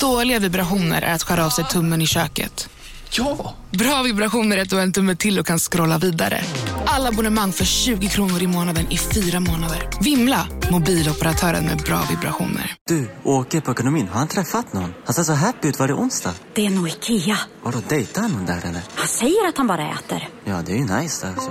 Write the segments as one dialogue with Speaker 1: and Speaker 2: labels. Speaker 1: Dåliga vibrationer är att skära av sig tummen i köket.
Speaker 2: Ja!
Speaker 1: Bra vibrationer är att du har en tumme till och kan scrolla vidare. Alla abonnemang för 20 kronor i månaden i fyra månader. Vimla! Mobiloperatören med bra vibrationer.
Speaker 3: Du, åker på ekonomin. Har han träffat någon? Han ser så happy ut. Var det onsdag?
Speaker 4: Det är nog Ikea.
Speaker 3: Har du dejtat någon där eller?
Speaker 4: Han säger att han bara äter.
Speaker 3: Ja, det är ju nice där alltså.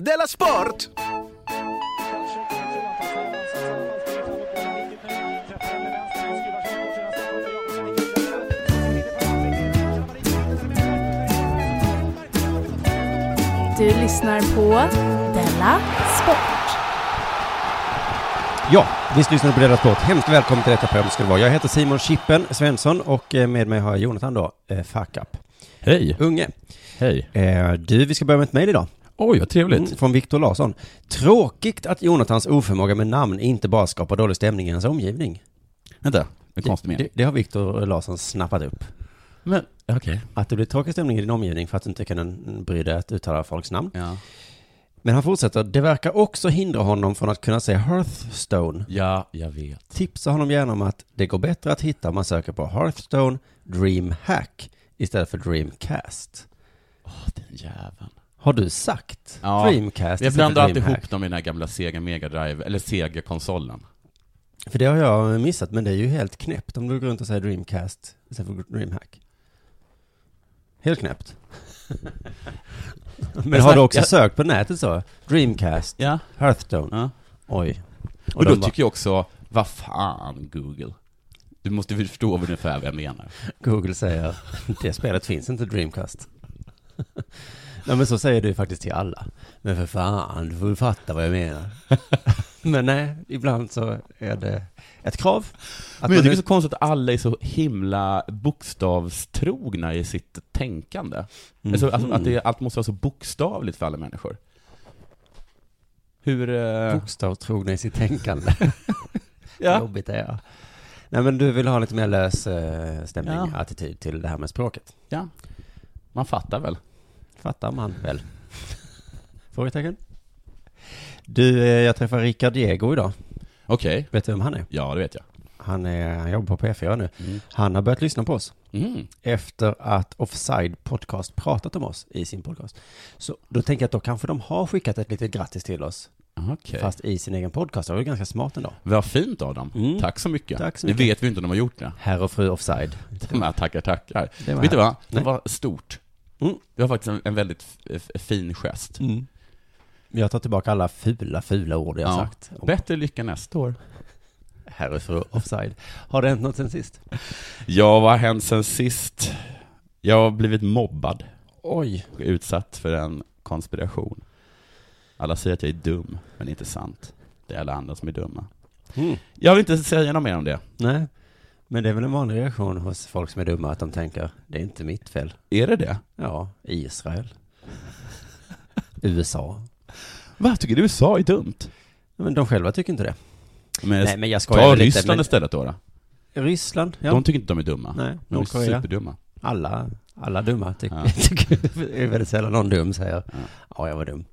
Speaker 2: Della Sport!
Speaker 5: Du lyssnar på Della Sport.
Speaker 6: Ja, visst lyssnar du på Della Sport. Hemskt välkommen till detta program ska du vara. Jag heter Simon Chippen Svensson och eh, med mig har jag Jonathan då, eh, Fuck Up.
Speaker 7: Hej!
Speaker 6: Unge.
Speaker 7: Hej!
Speaker 6: Eh, du, vi ska börja med ett mejl idag.
Speaker 7: Oj, vad trevligt.
Speaker 6: Mm, Från Viktor Larsson. Tråkigt att Jonathans oförmåga med namn inte bara skapar dålig stämning i hans omgivning.
Speaker 7: Vänta, en konstig
Speaker 6: Det,
Speaker 7: mening.
Speaker 6: det har Viktor Larsson snappat upp.
Speaker 7: Men, okej.
Speaker 6: Att det blir tråkig stämning i din omgivning för att du inte kan bry dig att uttala folks namn.
Speaker 7: Ja.
Speaker 6: Men han fortsätter, det verkar också hindra honom från att kunna se Hearthstone.
Speaker 7: ja, jag vet.
Speaker 6: Tipsa honom gärna om att det går bättre att hitta om man söker på Hearthstone Dreamhack istället för Dreamcast.
Speaker 7: Den jäveln.
Speaker 6: Har du sagt
Speaker 7: Ja,
Speaker 6: Dreamcast
Speaker 7: Jag
Speaker 6: istället för
Speaker 7: blandar alltid
Speaker 6: Dreamhack?
Speaker 7: ihop dem i den här gamla Sega Mega Drive, eller Sega-konsolen.
Speaker 6: För det har jag missat, men det är ju helt knäppt om du går runt och säger Dreamcast istället för Dreamhack. Helt knäppt. men har du också
Speaker 7: Jag-
Speaker 6: sökt på nätet så? Dreamcast,
Speaker 7: Ja.
Speaker 6: Hearthstone.
Speaker 7: ja.
Speaker 6: Oj.
Speaker 7: Och, då tycker jag också, vad fan Google? Du måste väl förstå ungefär vad jag menar.
Speaker 6: Google säger, det spelet finns inte Dreamcast. Nej men så säger du faktiskt till alla. Men för fan, du får ju fatta vad jag menar. men nej, ibland så är det ett krav. Att
Speaker 7: Men jag tycker det
Speaker 6: man-
Speaker 7: är så konstigt att alla är så himla bokstavstrogna i sitt tänkande. Alltså, alltså att det, allt måste vara så bokstavligt för alla människor. Hur... eh,
Speaker 6: Bokstavstrogna i sitt tänkande. Vad
Speaker 7: ja.
Speaker 6: Jobbigt är jag. Nej men du vill ha lite mer lös eh, stämning,
Speaker 7: Ja.
Speaker 6: attityd till det här med språket.
Speaker 7: ja. Man fattar väl?
Speaker 6: Fattar man väl? Frågetecken? Du, eh, jag träffar Rickard Diego idag.
Speaker 7: Okej.
Speaker 6: Vet du vem han är?
Speaker 7: Ja, det vet jag.
Speaker 6: Han, är, han jobbar på P4 nu. Han har börjat lyssna på oss.
Speaker 7: Mm.
Speaker 6: efter att Offside Podcast pratat om oss i sin podcast. Så då tänker jag att då kanske de har skickat ett litet grattis till oss,
Speaker 7: Okej.
Speaker 6: fast i sin egen podcast. Det var ju ganska smart ändå.
Speaker 7: Vad fint av dem.
Speaker 6: Mm.
Speaker 7: Tack så mycket.
Speaker 6: Tack så
Speaker 7: Det
Speaker 6: mycket.
Speaker 7: vet vi inte om de har gjort det.
Speaker 6: Herr och fru Offside.
Speaker 7: De här tackar, tackar.
Speaker 6: Det var
Speaker 7: vet du vad? Det
Speaker 6: Nej.
Speaker 7: var stort.
Speaker 6: Mm.
Speaker 7: Det var faktiskt en, en väldigt f- eh, f- fin gest.
Speaker 6: Jag tar tillbaka alla fula, fula ord jag
Speaker 7: Ja.
Speaker 6: sagt. Om
Speaker 7: Bättre lycka nästa år.
Speaker 6: herr och fru Offside. Har det hänt något sen sist?
Speaker 7: Ja, vad har hänt sen sist? Jag har blivit mobbad.
Speaker 6: Oj.
Speaker 7: Utsatt för en konspiration. Alla säger att jag är dum, men det är inte sant. Det är alla andra som är dumma.
Speaker 6: Mm.
Speaker 7: Jag vill inte säga något mer om det.
Speaker 6: Nej. Men det är väl en vanlig reaktion hos folk som är dumma att de tänker, det är inte mitt fel.
Speaker 7: Är det det?
Speaker 6: Ja, Israel. USA.
Speaker 7: Vad tycker du USA är dumt?
Speaker 6: Men de själva tycker inte det.
Speaker 7: Men
Speaker 6: Nej, men jag skojar
Speaker 7: ta
Speaker 6: väl lite,
Speaker 7: Ryssland
Speaker 6: men-
Speaker 7: istället då. då.
Speaker 6: Ryssland, ja.
Speaker 7: De tycker inte de är dumma.
Speaker 6: Nej,
Speaker 7: de är
Speaker 6: Nordkorea.
Speaker 7: superdumma.
Speaker 6: Alla, alla dumma tycker
Speaker 7: Ja.
Speaker 6: Det är väldigt sällan någon dum säger ja. jag var dum.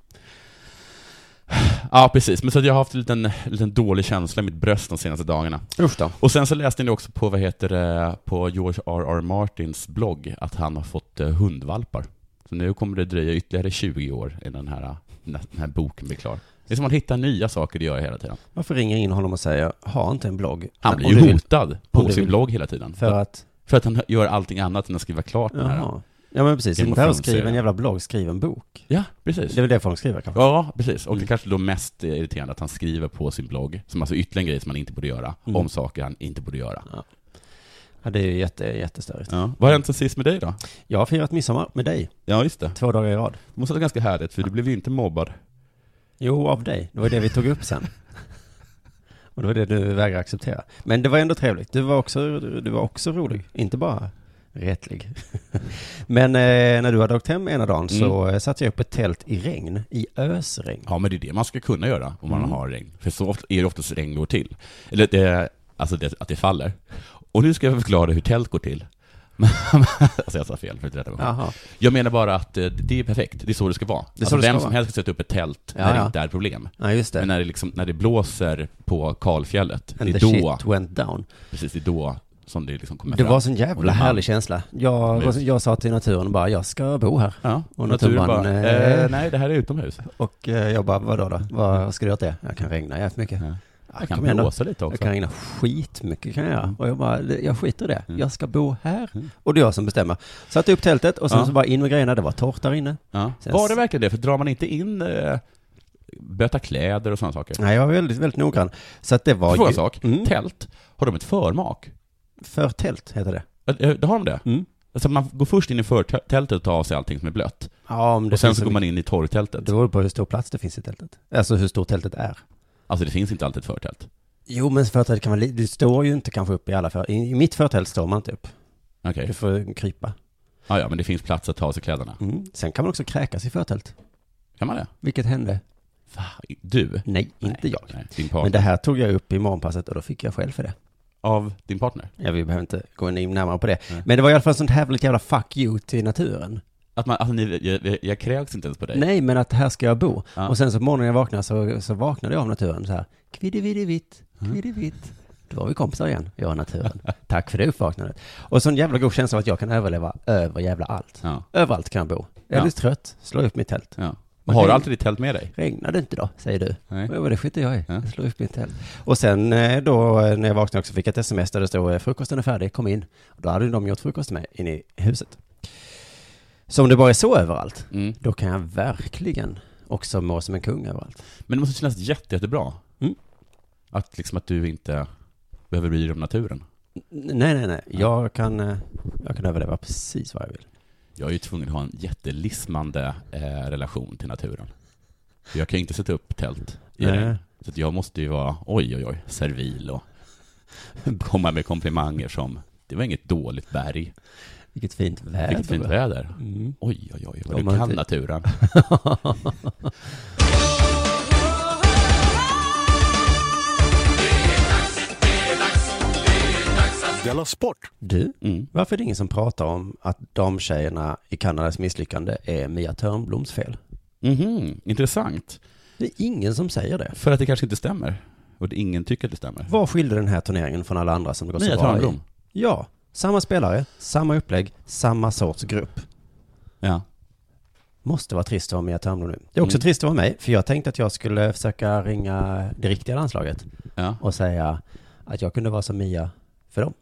Speaker 7: Ja, precis. Men så att jag har haft en liten, liten dålig känsla i mitt bröst de senaste dagarna.
Speaker 6: Usch då.
Speaker 7: Och sen så läste ni också på, vad heter det, på George R.R. Martins blogg att han har fått eh, hundvalpar. Så nu kommer det dröja ytterligare 20 år innan den här, innan den här boken blir klar. Det är som att man hittar nya saker att göra hela tiden.
Speaker 6: Varför ringer jag in honom och säger, ha inte en blogg.
Speaker 7: Han
Speaker 6: Nej,
Speaker 7: blir
Speaker 6: om
Speaker 7: ju
Speaker 6: du vill.
Speaker 7: hotad
Speaker 6: om
Speaker 7: på
Speaker 6: du
Speaker 7: sin
Speaker 6: vill.
Speaker 7: blogg hela tiden.
Speaker 6: För att,
Speaker 7: För att han gör allting annat än att skriva klart den här.
Speaker 6: jaha. Ja men precis,
Speaker 7: Game of
Speaker 6: inte här och
Speaker 7: Thrones
Speaker 6: skriv en
Speaker 7: serien.
Speaker 6: jävla blogg, skriv en bok.
Speaker 7: Ja, precis.
Speaker 6: Det är väl det folk skriver kanske?
Speaker 7: Ja, precis. Och det kanske då mest är irriterande att han skriver på sin blogg, som alltså ytterligare en grej som han inte borde göra, om saker han inte borde göra.
Speaker 6: Ja, det är ju jätte, jättestörigt.
Speaker 7: Ja. Vad har hänt sen sist med dig då?
Speaker 6: Jag har firat midsommar med dig,
Speaker 7: Ja, just det.
Speaker 6: två dagar i rad.
Speaker 7: Det måste vara ganska härligt, för du blev ju inte mobbad.
Speaker 6: Jo, av dig. Det var ju det vi tog upp sen. Och det var det du vägrade acceptera. Men det var ändå trevligt. Du var också, du var också rolig. Inte bara rättlig. Men eh, när du hade åkt hem ena dagen så
Speaker 7: Mm.
Speaker 6: eh, satte jag upp ett tält i regn. I ösregn.
Speaker 7: Ja, men det är det man ska kunna göra om man har regn. För så ofta är det oftast regn går till. Eller det, alltså det, att det faller. Och nu ska jag förklara hur tält går till. alltså jag sa fel, för att rätta mig själv.
Speaker 6: Jaha.
Speaker 7: Jag menar bara att eh, det är perfekt, det är så det ska vara.
Speaker 6: Det är så
Speaker 7: alltså
Speaker 6: det ska
Speaker 7: vem
Speaker 6: vara.
Speaker 7: som helst ska sätta upp ett tält
Speaker 6: Ja,
Speaker 7: när
Speaker 6: ja.
Speaker 7: det inte är problem.
Speaker 6: Ja, just det.
Speaker 7: Men eh, när det, liksom, när det blåser på kalfjället,
Speaker 6: And
Speaker 7: det
Speaker 6: the
Speaker 7: är då,
Speaker 6: shit went down.
Speaker 7: precis, det är då som det liksom kommer
Speaker 6: Det
Speaker 7: fram.
Speaker 6: var sån jävla
Speaker 7: liksom-
Speaker 6: härlig känsla. Jag,
Speaker 7: Visst.
Speaker 6: jag sa till naturen bara, jag ska bo här.
Speaker 7: Ja,
Speaker 6: Och
Speaker 7: och
Speaker 6: naturen
Speaker 7: naturen
Speaker 6: bara,
Speaker 7: bara,
Speaker 6: eh,
Speaker 7: eh, nej det här är utomhus.
Speaker 6: Och eh, jag bara, vadå då? Vad, vad ska du göra åt det? Jag kan regna jävligt mycket.
Speaker 7: Ja.
Speaker 6: Ja,
Speaker 7: Jag kan
Speaker 6: Ah, kom igen då.
Speaker 7: blåsa lite
Speaker 6: Jag
Speaker 7: också.
Speaker 6: kan regna skitmycket kan jag göra. Och jag bara, det- jag skiter i det.
Speaker 7: Mm.
Speaker 6: Jag ska bo här.
Speaker 7: Mm.
Speaker 6: Och det är jag som bestämmer. Satte upp tältet och sen
Speaker 7: Ja.
Speaker 6: så bara in med grejerna. Det var torrt där inne.
Speaker 7: Ja.
Speaker 6: Sen-
Speaker 7: Var det verkligen det? För drar man inte in eh, böta kläder och sådana saker?
Speaker 6: Nej, jag var väldigt, väldigt noggrann. Så att det var
Speaker 7: Får jag
Speaker 6: ju...
Speaker 7: en sak?
Speaker 6: Mm.
Speaker 7: Tält, har de ett förmak?
Speaker 6: För tält heter det.
Speaker 7: Eh, eh, Det har de det?
Speaker 6: Mm.
Speaker 7: Alltså man går först in i förtältet och tar av sig allting som är blött.
Speaker 6: Ja, om det
Speaker 7: Och sen
Speaker 6: finns
Speaker 7: så går man in i torrtältet.
Speaker 6: Det beror på hur stor plats det finns i tältet. Alltså hur stort tältet är.
Speaker 7: Alltså det finns inte alltid ett förtält.
Speaker 6: Jo, men förtält kan vara... li- Du står ju inte kanske upp i alla för... I, i mitt förtält står man inte upp.
Speaker 7: Okej.
Speaker 6: Du får krypa.
Speaker 7: Ah, ja, men det finns plats att ta av sig kläderna.
Speaker 6: Mm. Sen kan man också kräkas i förtält.
Speaker 7: Kan man det?
Speaker 6: Vilket hände?
Speaker 7: Du?
Speaker 6: Nej, inte
Speaker 7: Nej,
Speaker 6: jag.
Speaker 7: Nej, din
Speaker 6: Men
Speaker 7: partner.
Speaker 6: det här tog jag upp i morgonpasset och då fick jag skäll för det.
Speaker 7: Av din partner?
Speaker 6: Ja, vi behöver inte gå in närmare på det.
Speaker 7: Nej.
Speaker 6: Men det var i alla fall sånt hävligt jävla fuck you till naturen.
Speaker 7: Att man, alltså ni, jag, jag, jag kräks inte ens på dig.
Speaker 6: Nej, men att här ska jag bo.
Speaker 7: Ja.
Speaker 6: Och sen så på morgonen när jag vaknade så, så vaknade jag av naturen så här. Kviddividdivitt, kviddivitt. Då var vi kompisar igen, jag och naturen. Tack för det uppvaknandet. Och sån jävla god känsla av att jag kan överleva över jävla allt.
Speaker 7: Ja.
Speaker 6: Överallt kan jag bo. Jag är
Speaker 7: Ja.
Speaker 6: lite trött, slår upp mitt tält.
Speaker 7: ja.
Speaker 6: Men
Speaker 7: Har du
Speaker 6: det-
Speaker 7: alltid ditt tält med dig?
Speaker 6: Regnar det inte då, säger du.
Speaker 7: Nej.
Speaker 6: Jo, det skiter jag i.
Speaker 7: Ja.
Speaker 6: Jag slår upp mitt tält. Och sen eh, då eh, när jag vaknade också fick jag ett sms där det stod eh, frukosten är färdig, kom in. Och då hade ju de gjort frukost med inne i huset. Så om det bara är så överallt,
Speaker 7: Mm.
Speaker 6: då kan jag verkligen också må som en kung överallt.
Speaker 7: Men det måste kännas jätte, jättebra.
Speaker 6: Mm.
Speaker 7: Att, liksom, att du inte behöver bry dig om naturen.
Speaker 6: N- Nej, nej, nej. Jag kan, eh, jag kan överleva precis vad jag vill.
Speaker 7: Jag är ju tvungen att ha en jättelismande eh, relation till naturen. För Jag kan ju inte sätta upp tält i
Speaker 6: Nej.
Speaker 7: regn. Så att jag måste ju vara, oj, oj, oj, servil och komma med komplimanger som, det var inget dåligt berg,
Speaker 6: Vilket fint väder.
Speaker 7: vilket fint väder.
Speaker 6: Mm.
Speaker 7: Oj, oj, oj, vad
Speaker 6: Om
Speaker 7: du
Speaker 6: man
Speaker 7: kan
Speaker 6: inte-
Speaker 7: naturen.
Speaker 2: Della Sport!
Speaker 6: Du,
Speaker 7: Mm.
Speaker 6: varför är det ingen som pratar om att de tjejerna i Kanadas misslyckande är Mia Törnbloms fel?
Speaker 7: Mhm, intressant.
Speaker 6: Det är ingen som säger det.
Speaker 7: För att det kanske inte stämmer. Och det, ingen tycker att det stämmer.
Speaker 6: Vad skilde den här turneringen från alla andra som det går
Speaker 7: Mia
Speaker 6: så bra i?
Speaker 7: Törnblom.
Speaker 6: Ja, samma spelare, samma upplägg, samma sorts grupp.
Speaker 7: Ja.
Speaker 6: Måste vara trist att vara Mia Törnblom nu. Det är också
Speaker 7: Mm.
Speaker 6: trist att vara mig, för jag tänkte att jag skulle försöka ringa det riktiga landslaget
Speaker 7: Ja.
Speaker 6: och säga att jag kunde vara som Mia för dem.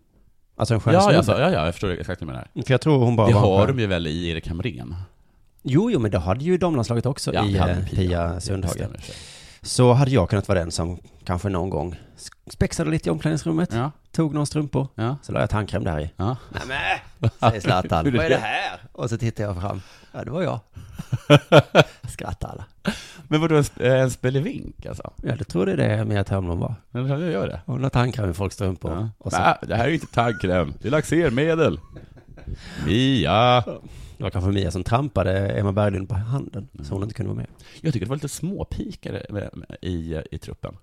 Speaker 6: Alltså en skön
Speaker 7: Ja,
Speaker 6: snubbe.
Speaker 7: jag sa, ja, ja, jag förstår exakt vad du menar.
Speaker 6: För jag tror hon bara
Speaker 7: Det
Speaker 6: var en
Speaker 7: har
Speaker 6: skön-
Speaker 7: de ju väl i Erik Hamrén?
Speaker 6: Jo, jo, men det hade ju damlandslaget också
Speaker 7: Ja,
Speaker 6: i
Speaker 7: det hade
Speaker 6: eh,
Speaker 7: Pia.
Speaker 6: Pia
Speaker 7: Det
Speaker 6: Sundhage.
Speaker 7: stämmer sig.
Speaker 6: Så hade jag kunnat vara den som kanske någon gång spexade lite i omklädningsrummet,
Speaker 7: Ja,
Speaker 6: tog några strumpor,
Speaker 7: ja,
Speaker 6: så la jag tandkräm där i.
Speaker 7: ja.
Speaker 6: Säger Zlatan. Vad är det här? Och så tittar jag fram. Ja, det var jag. Skrattar alla.
Speaker 7: Men vadå, en, sp- en spelevink alltså?
Speaker 6: Ja, det tror det är det Mia Törnblom var.
Speaker 7: Men jag gör det?
Speaker 6: Hon har tandkräm i folks strumpor.
Speaker 7: Ja.
Speaker 6: Och så,
Speaker 7: Nej, det här är inte tandkräm, det är laxermedel. Mia!
Speaker 6: det var kanske Mia som trampade Emma Berglund på handen,
Speaker 7: Mm.
Speaker 6: så hon inte kunde vara med.
Speaker 7: Jag tycker det var lite småpikare med- med- i, i truppen.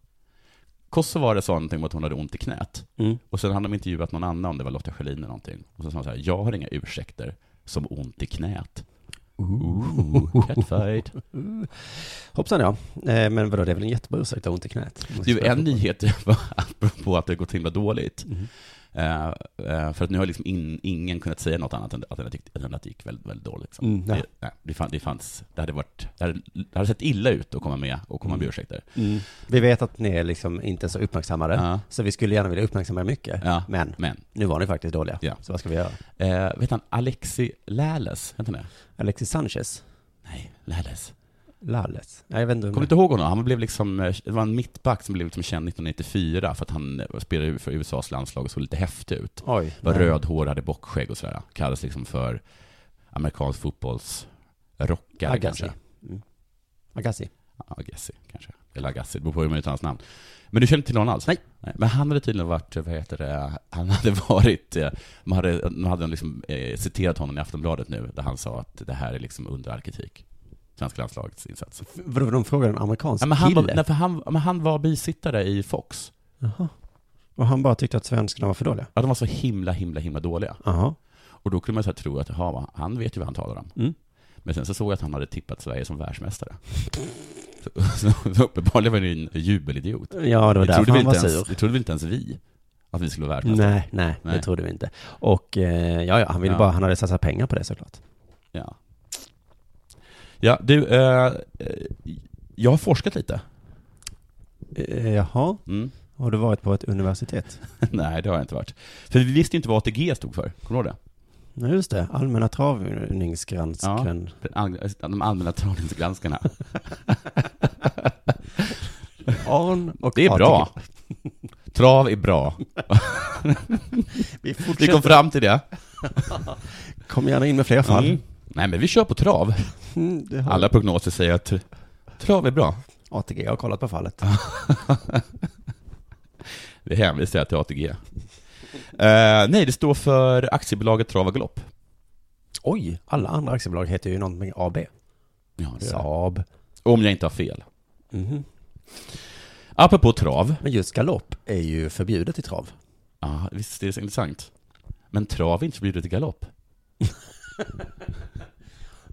Speaker 7: Kosovare sa någonting om att hon hade ont i knät.
Speaker 6: Mm.
Speaker 7: Och sen hade de intervjuat någon annan, om det var Lotta Schelin eller någonting. Och så sa hon så här, jag har inga ursäkter som ont i knät. Ooh, Oh, catfight.
Speaker 6: Hoppsan ja. Eh, Men vadå, det är väl en jättebra ursäkt att ha ont i knät?
Speaker 7: Du, en nyhet var apropå att det har gått så himla dåligt.
Speaker 6: Mhm.
Speaker 7: Eh, eh, för att nu har liksom in, ingen kunnat säga något annat än att den, tyckte, än att det gick väldigt, väldigt dåligt. Liksom.
Speaker 6: Mm, ja.
Speaker 7: det, nej, det, fanns, det, fanns, det, hade varit, det, hade, det hade sett illa ut att komma med och komma med ursäkter.
Speaker 6: Mm. Vi vet att ni är liksom inte så uppmärksammade,
Speaker 7: Ja.
Speaker 6: så vi skulle gärna vilja uppmärksamma er mycket.
Speaker 7: Ja.
Speaker 6: Men
Speaker 7: Men,
Speaker 6: nu var ni faktiskt dåliga,
Speaker 7: Ja.
Speaker 6: så vad ska vi göra?
Speaker 7: eh, vet han Alexi Lales? Vet han det?
Speaker 6: Alexis Sanchez,
Speaker 7: Nej, Lales.
Speaker 6: Lalles. Nej, jag vet inte. om-
Speaker 7: Kommer du inte ihåg honom? Han blev liksom, eh, det var en mittback som blev liksom känd 1994 för att han eh, spelade ju för USAs landslag och såg lite häftig ut.
Speaker 6: Oj.
Speaker 7: Var
Speaker 6: nej.
Speaker 7: röd hår, hade bockskägg och sådär. Kallades liksom för amerikansk fotbolls rockare
Speaker 6: Agassi.
Speaker 7: kanske.
Speaker 6: Mm. Agassi.
Speaker 7: Ja, Agassi kanske. eller Agassi, det beror på hur man uttalar hans namn. Men du känner inte till någon alls?
Speaker 6: Nej.
Speaker 7: Men han hade tydligen varit, vad heter det, han hade varit, eh, man hade, man hade liksom eh, citerat honom i Aftonbladet nu, där han sa att det här är liksom under all kritik. Svenska landslagets insats.
Speaker 6: Vadå, de frågar en amerikansk
Speaker 7: Ja, men, han var,
Speaker 6: Alltså, kille?
Speaker 7: nej, för han, men han var bisittare i Fox.
Speaker 6: Jaha. Och han bara tyckte att svenskarna var för dåliga?
Speaker 7: Ja, de var så himla, himla, himla dåliga.
Speaker 6: Jaha.
Speaker 7: Och då kunde man så här tro att, jaha, va, han vet ju vad han talar om.
Speaker 6: Mm.
Speaker 7: Men sen så såg jag att han hade tippat Sverige som världsmästare. Så, så, så uppenbarligen var det en jubelidiot.
Speaker 6: Ja, det var
Speaker 7: trodde
Speaker 6: därför
Speaker 7: väl
Speaker 6: han var
Speaker 7: inte ens,
Speaker 6: sur.
Speaker 7: det trodde väl inte ens vi, att vi skulle vara världsmästare.
Speaker 6: Nej, Alltså. nej,
Speaker 7: Nej.
Speaker 6: det trodde vi inte. Och eh, ja, ja, han ville
Speaker 7: Ja.
Speaker 6: bara, han hade satsat pengar på det såklart.
Speaker 7: Ja. Ja, du, eh, eh, jag har forskat lite.
Speaker 6: Eh, jaha,
Speaker 7: Mm.
Speaker 6: har du varit på ett universitet?
Speaker 7: Nej, det har jag inte varit. För vi visste ju inte vad ATG stod för, kommer du ihåg det?
Speaker 6: Nej, just det. Allmänna travningsgransken.
Speaker 7: Den all- De allmänna travningsgranskarna.
Speaker 6: Arn och
Speaker 7: Det är
Speaker 6: ATG.
Speaker 7: bra. Trav är bra.
Speaker 6: Vi
Speaker 7: Vi
Speaker 6: fortsätter.
Speaker 7: kom fram till det.
Speaker 6: Kom gärna in med fler fall.
Speaker 7: Mm. Nej, men vi kör på trav.
Speaker 6: Mm, det har
Speaker 7: Alla prognoser säger att trav är bra.
Speaker 6: ATG har kollat på fallet.
Speaker 7: Vi hänvisar till ATG. Eh, nej, det står för Aktiebolaget Trav och Galopp.
Speaker 6: Oj, alla andra aktiebolag heter ju någonting AB.
Speaker 7: Ja,
Speaker 6: Saab.
Speaker 7: Om jag inte har fel.
Speaker 6: Mhm.
Speaker 7: Apropå trav.
Speaker 6: Men just galopp är ju förbjudet i trav.
Speaker 7: Ja, visst det är så intressant. Men trav är inte förbjudet i galopp.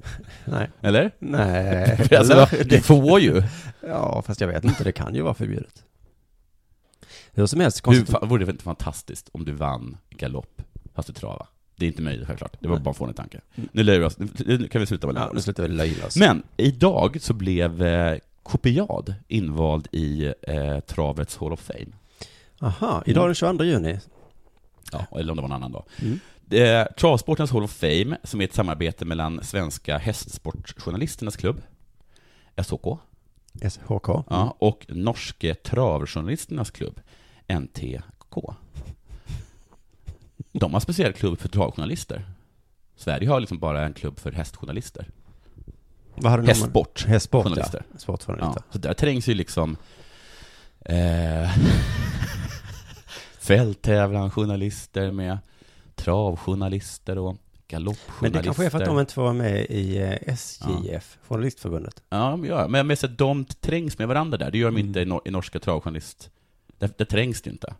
Speaker 6: Nej.
Speaker 7: Eller?
Speaker 6: Nej.
Speaker 7: Alltså,
Speaker 6: eller?
Speaker 7: du får ju.
Speaker 6: Ja, fast jag vet inte. Det kan ju vara förbjudet. Hur som helst,
Speaker 7: Hur
Speaker 6: konstigt.
Speaker 7: fa- vore det inte fantastiskt om du vann galopp fast du trava? Det är inte möjligt självklart. Det var bara en fånig tanke. Nu lurar vi oss. Nu kan vi sluta med
Speaker 6: Ja, nu
Speaker 7: det.
Speaker 6: slutar vi löjla oss.
Speaker 7: Men idag så blev eh, Kopiad invald i eh, travets Hall of Fame.
Speaker 6: Aha, idag den 22 juni.
Speaker 7: Ja, eller om det var en annan dag.
Speaker 6: Mm.
Speaker 7: Eh, Travsportens Hall of Fame, som är ett samarbete mellan Svenska Hästsportjournalisternas klubb, SHK,
Speaker 6: SHK.
Speaker 7: ja, och Norske Travjournalisternas klubb, NTK. De har speciell klubb för travjournalister. Sverige har liksom bara en klubb för hästjournalister.
Speaker 6: Vad hade de-
Speaker 7: Hästsport.
Speaker 6: Hästsport,
Speaker 7: Journalister.
Speaker 6: ja.
Speaker 7: Ja,
Speaker 6: Sportjournalister.
Speaker 7: så där trängs ju liksom eh, fälttävlan, journalister med travjournalister och galoppjournalister.
Speaker 6: Men det kanske är för att de inte får vara med i eh, SJF, Journalistförbundet.
Speaker 7: Ja, men ja, men jag menar så att de trängs med varandra där. Det gör de
Speaker 6: Mm.
Speaker 7: inte i, nor- i norska travjournalist... Där, där trängs det ju inte.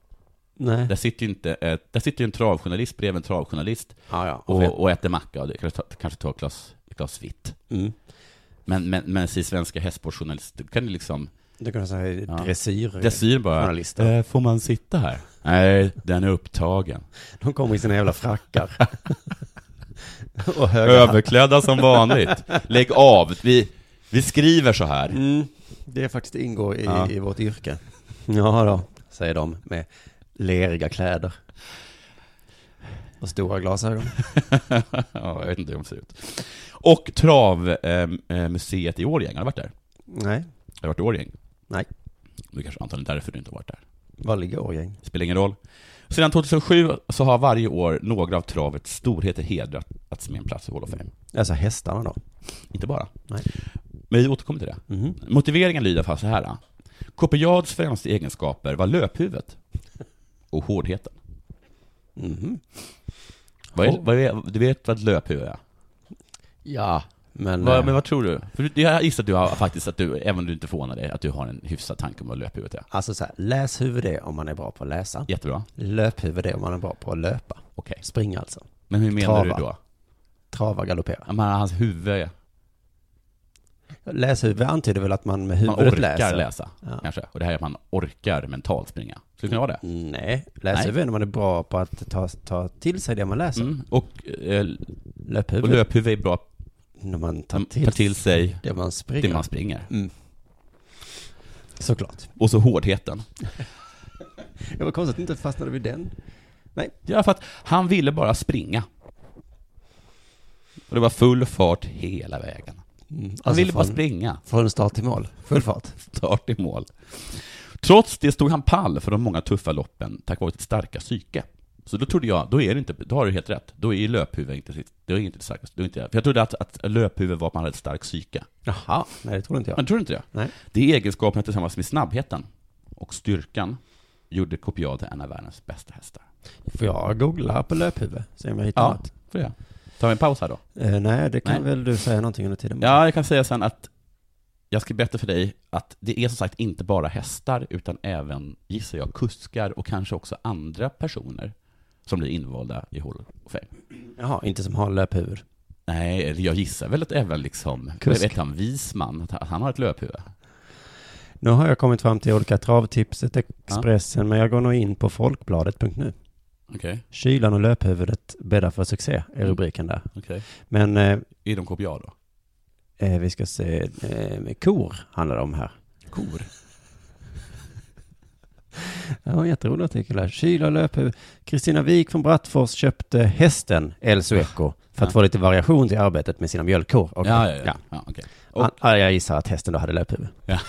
Speaker 6: Nej.
Speaker 7: Där sitter ju inte ett, där sitter ju en travjournalist bredvid en travjournalist
Speaker 6: Ja, ja.
Speaker 7: och, och äter macka och det kanske tar- kanske tar ett glas, ett glas vitt.
Speaker 6: Mm.
Speaker 7: Men, men, men i svenska hästsportjournalister kan det liksom...
Speaker 6: Du kan säga
Speaker 7: Ja.
Speaker 6: dressyr.
Speaker 7: Dressyr bara.
Speaker 6: Journalister.
Speaker 7: "Eh, får man sitta här? Nej, den är upptagen.
Speaker 6: De kommer i sina jävla frackar. och höga hatt.
Speaker 7: Överklädda som vanligt. Lägg av. Vi, vi skriver så här.
Speaker 6: mm. Det är faktiskt ingår i,
Speaker 7: Ja.
Speaker 6: i vårt yrke. Ja då, säger de med leriga kläder. Och stora glasögon.
Speaker 7: ja, jag vet inte hur de ser ut. Och Travmuseet i Årjäng. Har du varit där?
Speaker 6: Nej,
Speaker 7: Har du varit i Årjäng?
Speaker 6: Nej.
Speaker 7: Det kanske antagligen därför du inte har varit där.
Speaker 6: var ligger Årjäng?
Speaker 7: Spelar ingen roll. Sedan 2007 så har varje år några av travets storheter hedrats med en plats i Hall of Fame.
Speaker 6: Alltså hästarna då?
Speaker 7: Inte bara.
Speaker 6: Nej.
Speaker 7: Men vi återkommer till det.
Speaker 6: Mhm.
Speaker 7: Motiveringen lyder fast så här. Kopiads främsta egenskaper var löphuvudet och hårdheten.
Speaker 6: Mhm.
Speaker 7: Vad är,
Speaker 6: Hår-
Speaker 7: vad är, du vet vad ett löphuvud är?
Speaker 6: Ja, men...
Speaker 7: Vad,
Speaker 6: eh,
Speaker 7: men vad tror du? För du- jag gissar att du har, faktiskt att du, även om du inte förvånar dig, att du har en hyfsad tanke om vad löphuvudet är.
Speaker 6: Alltså så här, läshuvud är om man är bra på att läsa.
Speaker 7: Jättebra.
Speaker 6: Löphuvud är om man är bra på att löpa.
Speaker 7: Okej.
Speaker 6: Springa alltså.
Speaker 7: Men hur menar
Speaker 6: Trava.
Speaker 7: du då?
Speaker 6: Trava, galoppera.
Speaker 7: Ja, men hans huvud,
Speaker 6: Läshuvud antyder väl att man med
Speaker 7: man
Speaker 6: huvudet
Speaker 7: orkar läsa,
Speaker 6: läser? Ja.
Speaker 7: kanske. Och det här är att man orkar mentalt springa. Skulle det kunna vara det?
Speaker 6: Nej, läshuvud är när man är bra på att ta, ta till sig det man läser.
Speaker 7: Mm. Och, eh, och
Speaker 6: Löphuvud,
Speaker 7: löphuvud är bra att
Speaker 6: när man tar
Speaker 7: ta
Speaker 6: till,
Speaker 7: till sig
Speaker 6: det man springer.
Speaker 7: det man springer.
Speaker 6: Såklart.
Speaker 7: Och så hårdheten.
Speaker 6: Det var konstigt att inte fastnade vid den.
Speaker 7: Ja, för att han ville bara springa. Och det var full fart hela vägen. Han
Speaker 6: Alltså
Speaker 7: ville bara
Speaker 6: från-
Speaker 7: springa,
Speaker 6: Från start till mål. Full fart.
Speaker 7: start i mål. Trots det stod han pall för de många tuffa loppen tack vare sitt starka psyke. Så då trodde jag, då är det inte, då har du helt rätt. Då är löphuvud inte sitt, det är inte det starkaste. Då är inte, för jag trodde att, att löphuvud var att man hade ett starkt psyke.
Speaker 6: Jaha, nej det tror inte
Speaker 7: Men
Speaker 6: jag.
Speaker 7: tror du inte det?
Speaker 6: Nej.
Speaker 7: Det är egenskaperna tillsammans med snabbheten och styrkan gjorde Copiad till en av världens bästa hästar.
Speaker 6: Får jag googla på löphuvud? Se om jag hittar något.
Speaker 7: får jag. Tar vi en paus här då?
Speaker 6: Eh, nej, det kan
Speaker 7: Nej.
Speaker 6: väl du säga någonting under tiden?
Speaker 7: Ja, jag kan säga sen att jag ska berätta för dig att det är som sagt inte bara hästar, utan även, gissar jag, kuskar och kanske också andra personer som blir invalda i Hall of Fame.
Speaker 6: Jaha, inte som har löphuvud.
Speaker 7: Nej, eller jag gissar väl att även liksom,
Speaker 6: Kusk.
Speaker 7: Kusk. vet han, Wisman, att han- att han har ett löphuvud.
Speaker 6: Nu har jag kommit fram till olika travtipset, Expressen, men jag går nog in på folkbladet.nu.
Speaker 7: Okej, okay.
Speaker 6: Kylan och löphuvudet bäddar för succé, är rubriken där.
Speaker 7: okej.
Speaker 6: Men eh,
Speaker 7: Är de kopia då?
Speaker 6: eh, vi ska se, eh, kor handlar det om här.
Speaker 7: Kor.
Speaker 6: Det var en jätterolig artikel här. Kyla och löphuvud. Kristina Wik från Brattfors köpte hästen El Sueco för att
Speaker 7: Ja.
Speaker 6: få lite variation till arbetet med sina mjölkkor. Okej.
Speaker 7: Ja, ja, ja. ja. okej. Och-
Speaker 6: Ah, ah, jag gissar att hästen då hade löphuvud.
Speaker 7: Ja,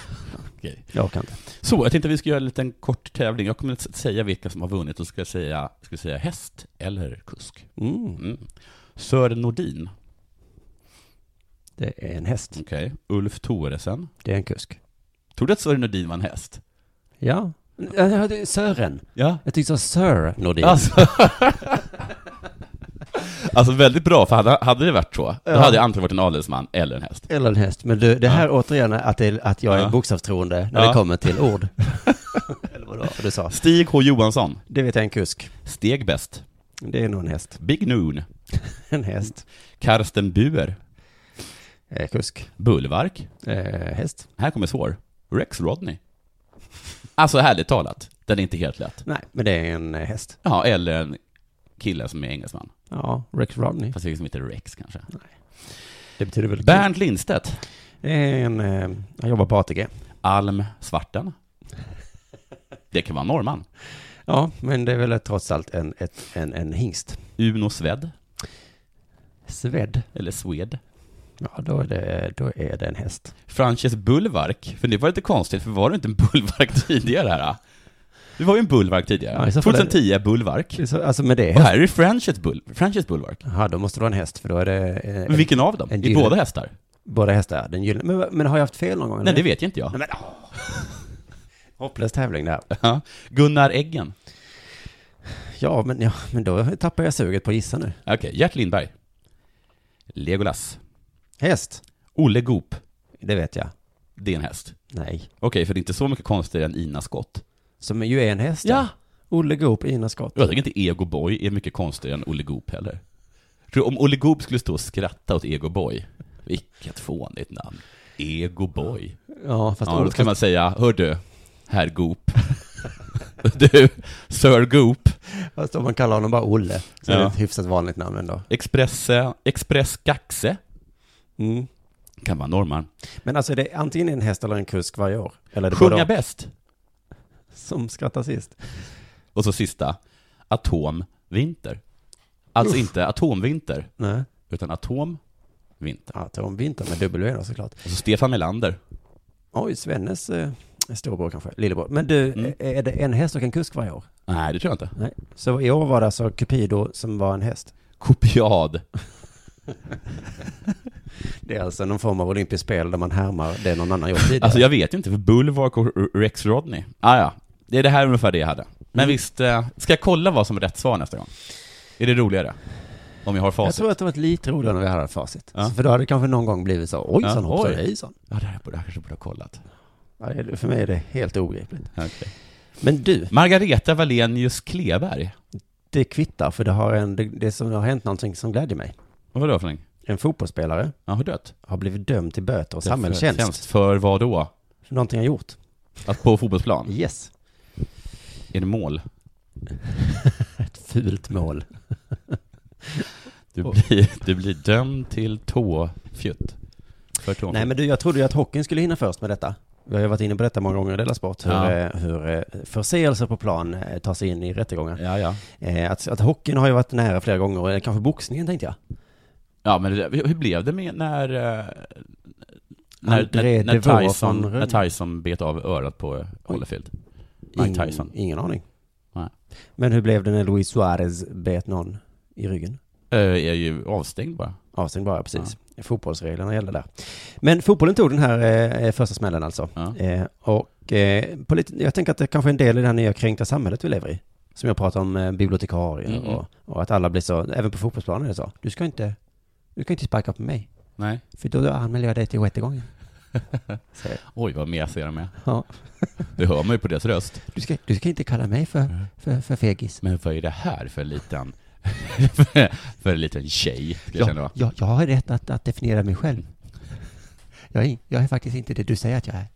Speaker 7: okej.
Speaker 6: Jag orkar inte.
Speaker 7: Så, jag tänkte vi ska göra en liten kort tävling. Jag kommer att säga vilka som har vunnit och ska säga, ska säga häst eller kusk.
Speaker 6: Mm,
Speaker 7: Mm. Sören Nordin,
Speaker 6: det är en häst.
Speaker 7: okej. Ulf Thoresen.
Speaker 6: Det är en kusk.
Speaker 7: Tror du att Sören Nordin var en häst?
Speaker 6: Ja. Ja, ja, det är Sören.
Speaker 7: Ja.
Speaker 6: Jag tyckte det var Sir Nordin.
Speaker 7: Alltså, alltså väldigt bra, för hade, hade det varit så, då hade jag antagligen varit en adelsman eller en häst.
Speaker 6: Eller en häst. Men du, det här återigen är att, det, är- att jag är
Speaker 7: Ja.
Speaker 6: bokstavstroende när det
Speaker 7: Ja.
Speaker 6: kommer till ord. Eller vad det var du sa.
Speaker 7: Stig H Johansson,
Speaker 6: Det vet jag är en kusk.
Speaker 7: Steg Bäst,
Speaker 6: Det är nog en häst.
Speaker 7: Big Noon,
Speaker 6: En häst.
Speaker 7: Karsten Buer,
Speaker 6: Eh, kusk.
Speaker 7: Bulvark,
Speaker 6: Eh, häst.
Speaker 7: här kommer svår, Rex Rodney. Alltså härligt talat, den är inte helt lätt.
Speaker 6: Nej, men det är en eh, häst.
Speaker 7: Ja, eller en kille som är engelsman.
Speaker 6: Ja, Rex Rodney.
Speaker 7: Fast det är liksom inte Rex kanske.
Speaker 6: Det betyder väl...
Speaker 7: Bernt Lindstedt,
Speaker 6: Det är en... Eh, han jobbar på ATG.
Speaker 7: Alm Svarten. Det kan vara norrman.
Speaker 6: Ja, men det är väl trots allt en, ett, en, en hingst.
Speaker 7: Uno Sved,
Speaker 6: Sved.
Speaker 7: eller Swed.
Speaker 6: Ja, då är, det, då är det en häst.
Speaker 7: Frances Bulwark, för det var lite konstigt, för var det inte en Bulwark tidigare här? ah? Det var ju en Bulwark
Speaker 6: Ja,
Speaker 7: tidigare.
Speaker 6: i så fall är det-
Speaker 7: 2010 Bulwark.
Speaker 6: Så, alltså, men det är
Speaker 7: Och
Speaker 6: häst.
Speaker 7: här är det Frances, Bul Frances Bulwark.
Speaker 6: Ja, då måste det vara en häst, för då är det... Eh,
Speaker 7: Men vilken av dem?
Speaker 6: en
Speaker 7: I
Speaker 6: gyllene-
Speaker 7: båda hästar?
Speaker 6: Båda hästar, den gyllene. Men, men har jag haft fel någon gång?
Speaker 7: Nej, det vet ju inte
Speaker 6: Nej,
Speaker 7: jag.
Speaker 6: men, åh. Hopplös tävling det här.
Speaker 7: Ja. Gunnar Eggen.
Speaker 6: Ja men, ja, men då tappar jag suget på att gissa nu.
Speaker 7: Okej, Gert Lindberg. Legolas.
Speaker 6: Häst,
Speaker 7: Olle Goop.
Speaker 6: det vet jag.
Speaker 7: Det är en häst.
Speaker 6: Nej.
Speaker 7: Okej, för det är inte så mycket konstigare än Ina Skott.
Speaker 6: Som ju är en häst. Olle Goop, Ina Scott.
Speaker 7: Jag tycker inte Ego Boy är mycket konstigare än Olle Goop heller. Tror om Olle Goop skulle stå och skratta åt Ego Boy, vilket fånigt namn. Ego Boy.
Speaker 6: Ja, fast
Speaker 7: Ja, då
Speaker 6: Olle,
Speaker 7: kan man säga, hör du, herr Goop. du, Sir Goop.
Speaker 6: fast om man kallar honom bara Olle, så är det
Speaker 7: Ja.
Speaker 6: ett hyfsat vanligt namn ändå.
Speaker 7: Express, Express Gaxe.
Speaker 6: Mm.
Speaker 7: Kan vara norrman.
Speaker 6: Men alltså är det antingen en häst eller en kusk varje år? Eller är det
Speaker 7: Sjunga
Speaker 6: båda
Speaker 7: bäst.
Speaker 6: som skrattar sist?
Speaker 7: Och så sista, Atomvinter. Alltså inte Atomvinter,
Speaker 6: Nej.
Speaker 7: utan Atomvinter.
Speaker 6: Ja, Tom Winter med W då såklart.
Speaker 7: Och så Stefan Melander.
Speaker 6: Oj, Svennes eh, storbror kanske, lillebror. Men du,
Speaker 7: Mm.
Speaker 6: eh, är det en häst och en kusk varje år?
Speaker 7: Nej, det tror jag inte.
Speaker 6: Nej. Så i år var det alltså Cupido som var en häst?
Speaker 7: Kopiad.
Speaker 6: Det är alltså någon form av olympiskt spel där man härmar det någon annan gjort tidigare.
Speaker 7: Alltså jag vet inte, för Bulwark och R- Rex Rodney. Ah, ja, det är det här ungefär det jag hade.
Speaker 6: Mm.
Speaker 7: Men visst, eh, ska jag kolla vad som är rätt svar nästa gång? Är det roligare? Om jag har
Speaker 6: Jag
Speaker 7: facit?
Speaker 6: tror att det var lite roligare när vi hade facit.
Speaker 7: Ja.
Speaker 6: Så För då hade det kanske någon gång blivit så, ojsan
Speaker 7: Ja,
Speaker 6: ja, hoppsan
Speaker 7: oj.
Speaker 6: hejsan.
Speaker 7: Ja, det här borde jag kanske borde ha kollat.
Speaker 6: Ja, det- för mig är det helt obegripligt.
Speaker 7: Okej.
Speaker 6: Men du,
Speaker 7: Margareta Wallenius Kleberg.
Speaker 6: det kvittar för det har en, det, det som har hänt någonting som glädjer mig.
Speaker 7: Vad var det för någonting?
Speaker 6: En fotbollsspelare
Speaker 7: Ja, har dött.
Speaker 6: har blivit dömd till böter och samhällstjänst
Speaker 7: Tjänst För vad då?
Speaker 6: för någonting han gjort.
Speaker 7: Att på fotbollsplan?
Speaker 6: Yes.
Speaker 7: Är det mål?
Speaker 6: Ett fult mål.
Speaker 7: Du blir, du blir dömd till tåfjutt. För tåfjutt.
Speaker 6: Nej men du, jag trodde ju att hockeyn skulle hinna först med detta. Vi har ju varit inne på detta många gånger i Della Sport, hur,
Speaker 7: Ja.
Speaker 6: eh, hur eh, förseelser på plan eh, tar sig in i rättegångar.
Speaker 7: Ja, ja.
Speaker 6: Eh, Att, att hockeyn har ju varit nära flera gånger, eller kanske boxningen tänkte jag.
Speaker 7: Ja, men det, hur blev det med när... eh, När,
Speaker 6: André
Speaker 7: när, när,
Speaker 6: Devaux
Speaker 7: Tyson,
Speaker 6: från Rönn.
Speaker 7: när Tyson bet av örat på Holyfield? Mike Tyson.
Speaker 6: Ingen, ingen aning. Men hur blev det när Luis Suarez bet någon i ryggen?
Speaker 7: Eh, är ju avstängd bara.
Speaker 6: Avstängd bara, precis. Fotbollsreglerna gällde där. Men fotbollen tog den här eh, första smällen alltså.
Speaker 7: Ja.
Speaker 6: Eh, och eh, på lite, jag tänker att det kanske är en del i det här nya kränkta samhället vi lever i. Som jag pratar om eh, bibliotekarier
Speaker 7: Mm, mm.
Speaker 6: och, och att alla blir så, även på fotbollsplanen är det så. Du ska inte, du kan inte sparka på mig.
Speaker 7: Nej.
Speaker 6: För då anmäler jag dig till rättegången. Säger-
Speaker 7: Oj, vad mesiga de är.
Speaker 6: ja.
Speaker 7: Det hör man ju på deras röst.
Speaker 6: du, ska, du ska inte kalla mig
Speaker 7: Mm.
Speaker 6: för, för, för fegis.
Speaker 7: Men vad är det här för liten... för en liten tjej, ska jag känna.
Speaker 6: Jag, jag, jag har rätt att, att definiera mig själv. Jag är, in- jag är faktiskt inte det du säger att jag är.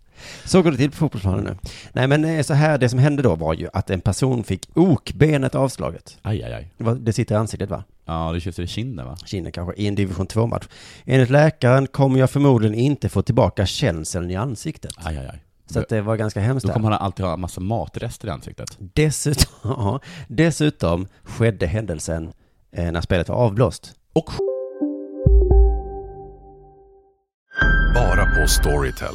Speaker 6: Så går det till på fotbollsplanen nu. Nej men eh, så här, det som hände då var ju att en person fick okbenet avslaget.
Speaker 7: Aj, aj, aj.
Speaker 6: Det var- Det sitter i ansiktet va?
Speaker 7: Ja, det känns i kinden va?
Speaker 6: Kina kanske, i en division 2-match. Enligt läkaren kommer jag förmodligen inte få tillbaka känseln i ansiktet.
Speaker 7: Aj, aj, aj.
Speaker 6: Så att det var ganska hemskt.
Speaker 7: Då
Speaker 6: där.
Speaker 7: kommer han alltid ha en massa matrester i ansiktet.
Speaker 6: Dessutom, ja, dessutom skedde händelsen eh, när spelet var avblåst.
Speaker 7: Och
Speaker 2: Bara på Storytel.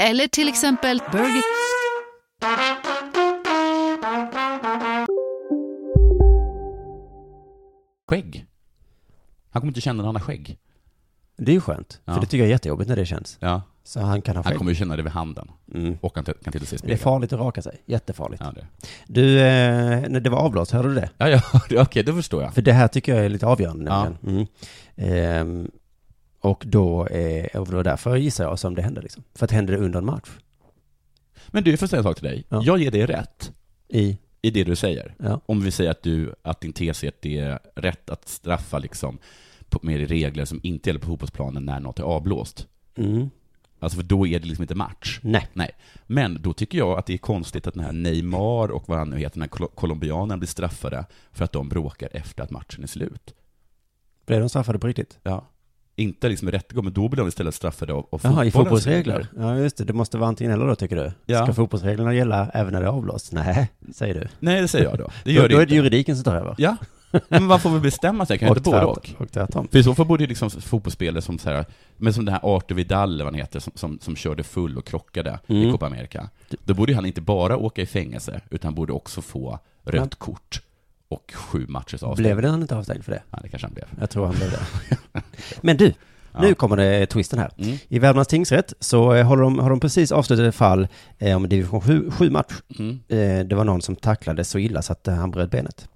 Speaker 8: Eller till exempel Burger...
Speaker 7: skägg. Han kommer inte känna när han har skägg.
Speaker 6: Det är ju skönt,
Speaker 7: Ja.
Speaker 6: för det tycker jag är jättejobbigt när det känns.
Speaker 7: Ja.
Speaker 6: Så han kan ha
Speaker 7: Han
Speaker 6: skägg.
Speaker 7: kommer ju känna det vid handen.
Speaker 6: Mm.
Speaker 7: Och han t- kan titta sig i
Speaker 6: Det är
Speaker 7: spegeln.
Speaker 6: farligt att raka sig, jättefarligt.
Speaker 7: Ja, det.
Speaker 6: Du, eh, när det var avblåst, hörde du det?
Speaker 7: Ja, ja, okej, då förstår jag.
Speaker 6: För det här tycker jag är lite avgörande
Speaker 7: Ja.
Speaker 6: nämligen. Mm. Ehm, och då, eh, och det var därför gissar jag som det hände liksom. För att hände det under en match?
Speaker 7: Men du, jag får säga en sak till dig.
Speaker 6: Ja.
Speaker 7: Jag ger dig rätt
Speaker 6: I?
Speaker 7: i det du säger.
Speaker 6: Ja.
Speaker 7: Om vi säger att, du, att din tes är att det är rätt att straffa liksom, på- med regler som inte gäller på fotbollsplanen när något är avblåst.
Speaker 6: Mm.
Speaker 7: Alltså för då är det liksom inte match.
Speaker 6: Nej.
Speaker 7: Nej. Men då tycker jag att det är konstigt att den här Neymar och vad han nu heter, den här kol- colombianen blir straffade för att de bråkar efter att matchen är slut.
Speaker 6: Blev de straffade på riktigt?
Speaker 7: Ja. Inte liksom i rättegång, men då blir de istället straffade av, av
Speaker 6: Jaha, i
Speaker 7: fotbollens
Speaker 6: fotbollsregler? Ja, just det. Det måste vara antingen eller då, tycker du?
Speaker 7: Ja.
Speaker 6: Ska fotbollsreglerna gälla även när det är avblåst? Nej, säger du.
Speaker 7: Nej, det säger jag då.
Speaker 6: då
Speaker 7: Det gör
Speaker 6: då
Speaker 7: det
Speaker 6: är det
Speaker 7: inte.
Speaker 6: juridiken som tar över.
Speaker 7: Ja. Men man får väl bestämma sig, kan jag inte både
Speaker 6: tvärt-
Speaker 7: och?
Speaker 6: och tvärtom.
Speaker 7: För i så fall borde ju liksom fotbollsspelare som så här, men som den här Arthur Vidal, eller vad han heter, som, som, som körde full och krockade
Speaker 6: Mm.
Speaker 7: i Copa America. Då borde ju han inte bara åka i fängelse, utan borde också få rött kort och sju matchers avstängning.
Speaker 6: Blev det han inte avstängd för det?
Speaker 7: Ja, det kanske han blev.
Speaker 6: Jag tror han blev det. Mm. Men du, nu kommer det eh, twisten här. I Värmlands tingsrätt så eh, håller de, har de precis avslutat ett fall eh, om en division 7-match. Eh, Det var någon som tacklades så illa så att eh, han bröt benet.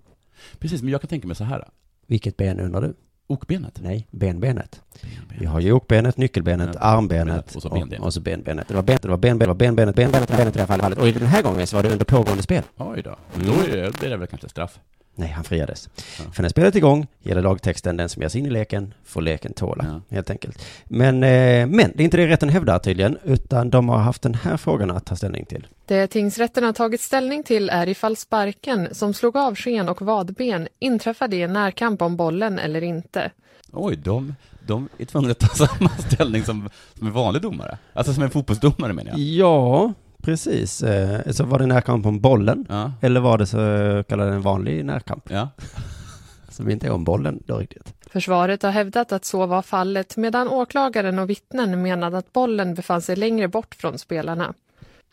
Speaker 7: Precis, men jag kan tänka mig så här.
Speaker 6: Vilket ben undrar du?
Speaker 7: Okbenet.
Speaker 6: Nej, benbenet. Vi har ju okbenet, nyckelbenet, armbenet
Speaker 7: och så benbenet.
Speaker 6: Och, och så benbenet. Det var benbenet, det var benbenet, det var benbenet, benbenet, benbenet i det här fallet. Och i den här gången så var det under pågående spel.
Speaker 7: Oj då. Då är det, det är väl kanske straff.
Speaker 6: Nej, han friades. För när spelet är igång gäller lagtexten den som ger sig in i leken får leken tåla,
Speaker 7: Ja.
Speaker 6: helt enkelt. Men, eh, men det är inte det rätten hävdar tydligen, utan de har haft den här frågan att ta ställning till.
Speaker 9: Det tingsrätten har tagit ställning till är ifall sparken som slog av sken och vadben inträffade i en närkamp om bollen eller inte.
Speaker 7: Oj, de, de är tvungna att ta samma ställning som, som en vanlig domare. Alltså som en fotbollsdomare menar jag.
Speaker 6: Ja, precis. Eh, så var det närkamp om bollen,
Speaker 7: Ja.
Speaker 6: eller var det så kallad en vanlig närkamp,
Speaker 7: Ja.
Speaker 6: som inte är om bollen då riktigt?
Speaker 9: Försvaret har hävdat att så var fallet medan åklagaren och vittnen menade att bollen befann sig längre bort från spelarna.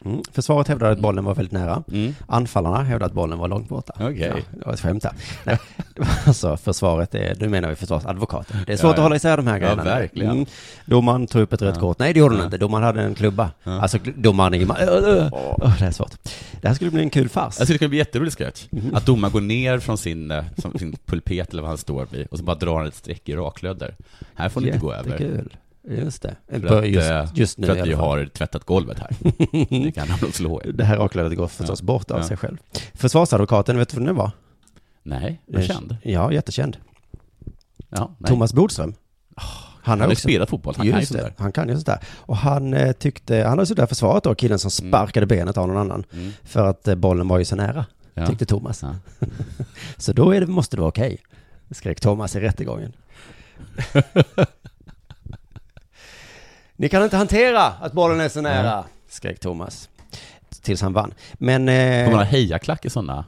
Speaker 6: Mm. Försvaret hävdade att bollen var väldigt nära.
Speaker 7: Mm.
Speaker 6: Anfallarna hävdade att bollen var långt borta.
Speaker 7: Okej.
Speaker 6: Ja, det var ett skämt där. Nej, det var alltså försvaret, är, nu menar vi försvarsadvokaten. Det är svårt
Speaker 7: Ja,
Speaker 6: att
Speaker 7: ja.
Speaker 6: hålla isär de här
Speaker 7: Ja,
Speaker 6: grejerna. Mm.
Speaker 7: verkligen.
Speaker 6: Domaren tog upp ett rött kort. Nej, det gjorde hon inte. Domaren hade en klubba. Alltså, kl- domaren i... ma- Ö, ö, ö. Åh, Det här är svårt. Det här skulle bli en kul fars.
Speaker 7: Jag tycker Alltså, det ska bli jätterolig sketch. Att domaren går ner från sin, eh, som, sin pulpet eller vad han står vid och så bara drar han ett streck i raklödder. Här får ni inte gå över.
Speaker 6: Jättekul. Just det.
Speaker 7: För
Speaker 6: Bör-
Speaker 7: att,
Speaker 6: just-
Speaker 7: eh,
Speaker 6: just nu
Speaker 7: för
Speaker 6: i
Speaker 7: att
Speaker 6: alla
Speaker 7: vi
Speaker 6: fall.
Speaker 7: har tvättat golvet här. det kan han slå er.
Speaker 6: Det här rakbladet går förstås
Speaker 7: Ja.
Speaker 6: bort av
Speaker 7: Ja.
Speaker 6: sig själv. Försvarsadvokaten, vet du vem det var?
Speaker 7: Nej, vad
Speaker 6: Eh,
Speaker 7: känd.
Speaker 6: Ja, jättekänd.
Speaker 7: Ja, nej.
Speaker 6: Thomas Bodström.
Speaker 7: han har ju
Speaker 6: också-
Speaker 7: spelat fotboll, han kan ju
Speaker 6: Just
Speaker 7: sånt
Speaker 6: det,
Speaker 7: där.
Speaker 6: Han kan ju sånt där. Och han eh, tyckte, han hade suttit där och försvarat då, killen som sparkade benet av någon annan.
Speaker 7: Mm.
Speaker 6: För att eh, bollen var ju så nära,
Speaker 7: Ja.
Speaker 6: tyckte Thomas. så då är det, måste det vara okej, skrek Thomas i rättegången. Ni kan inte hantera att bollen är så nära,
Speaker 7: Nej.
Speaker 6: skrek Thomas. Tills han vann. Men... Eh,
Speaker 7: Får man ha hejaklack i sådana?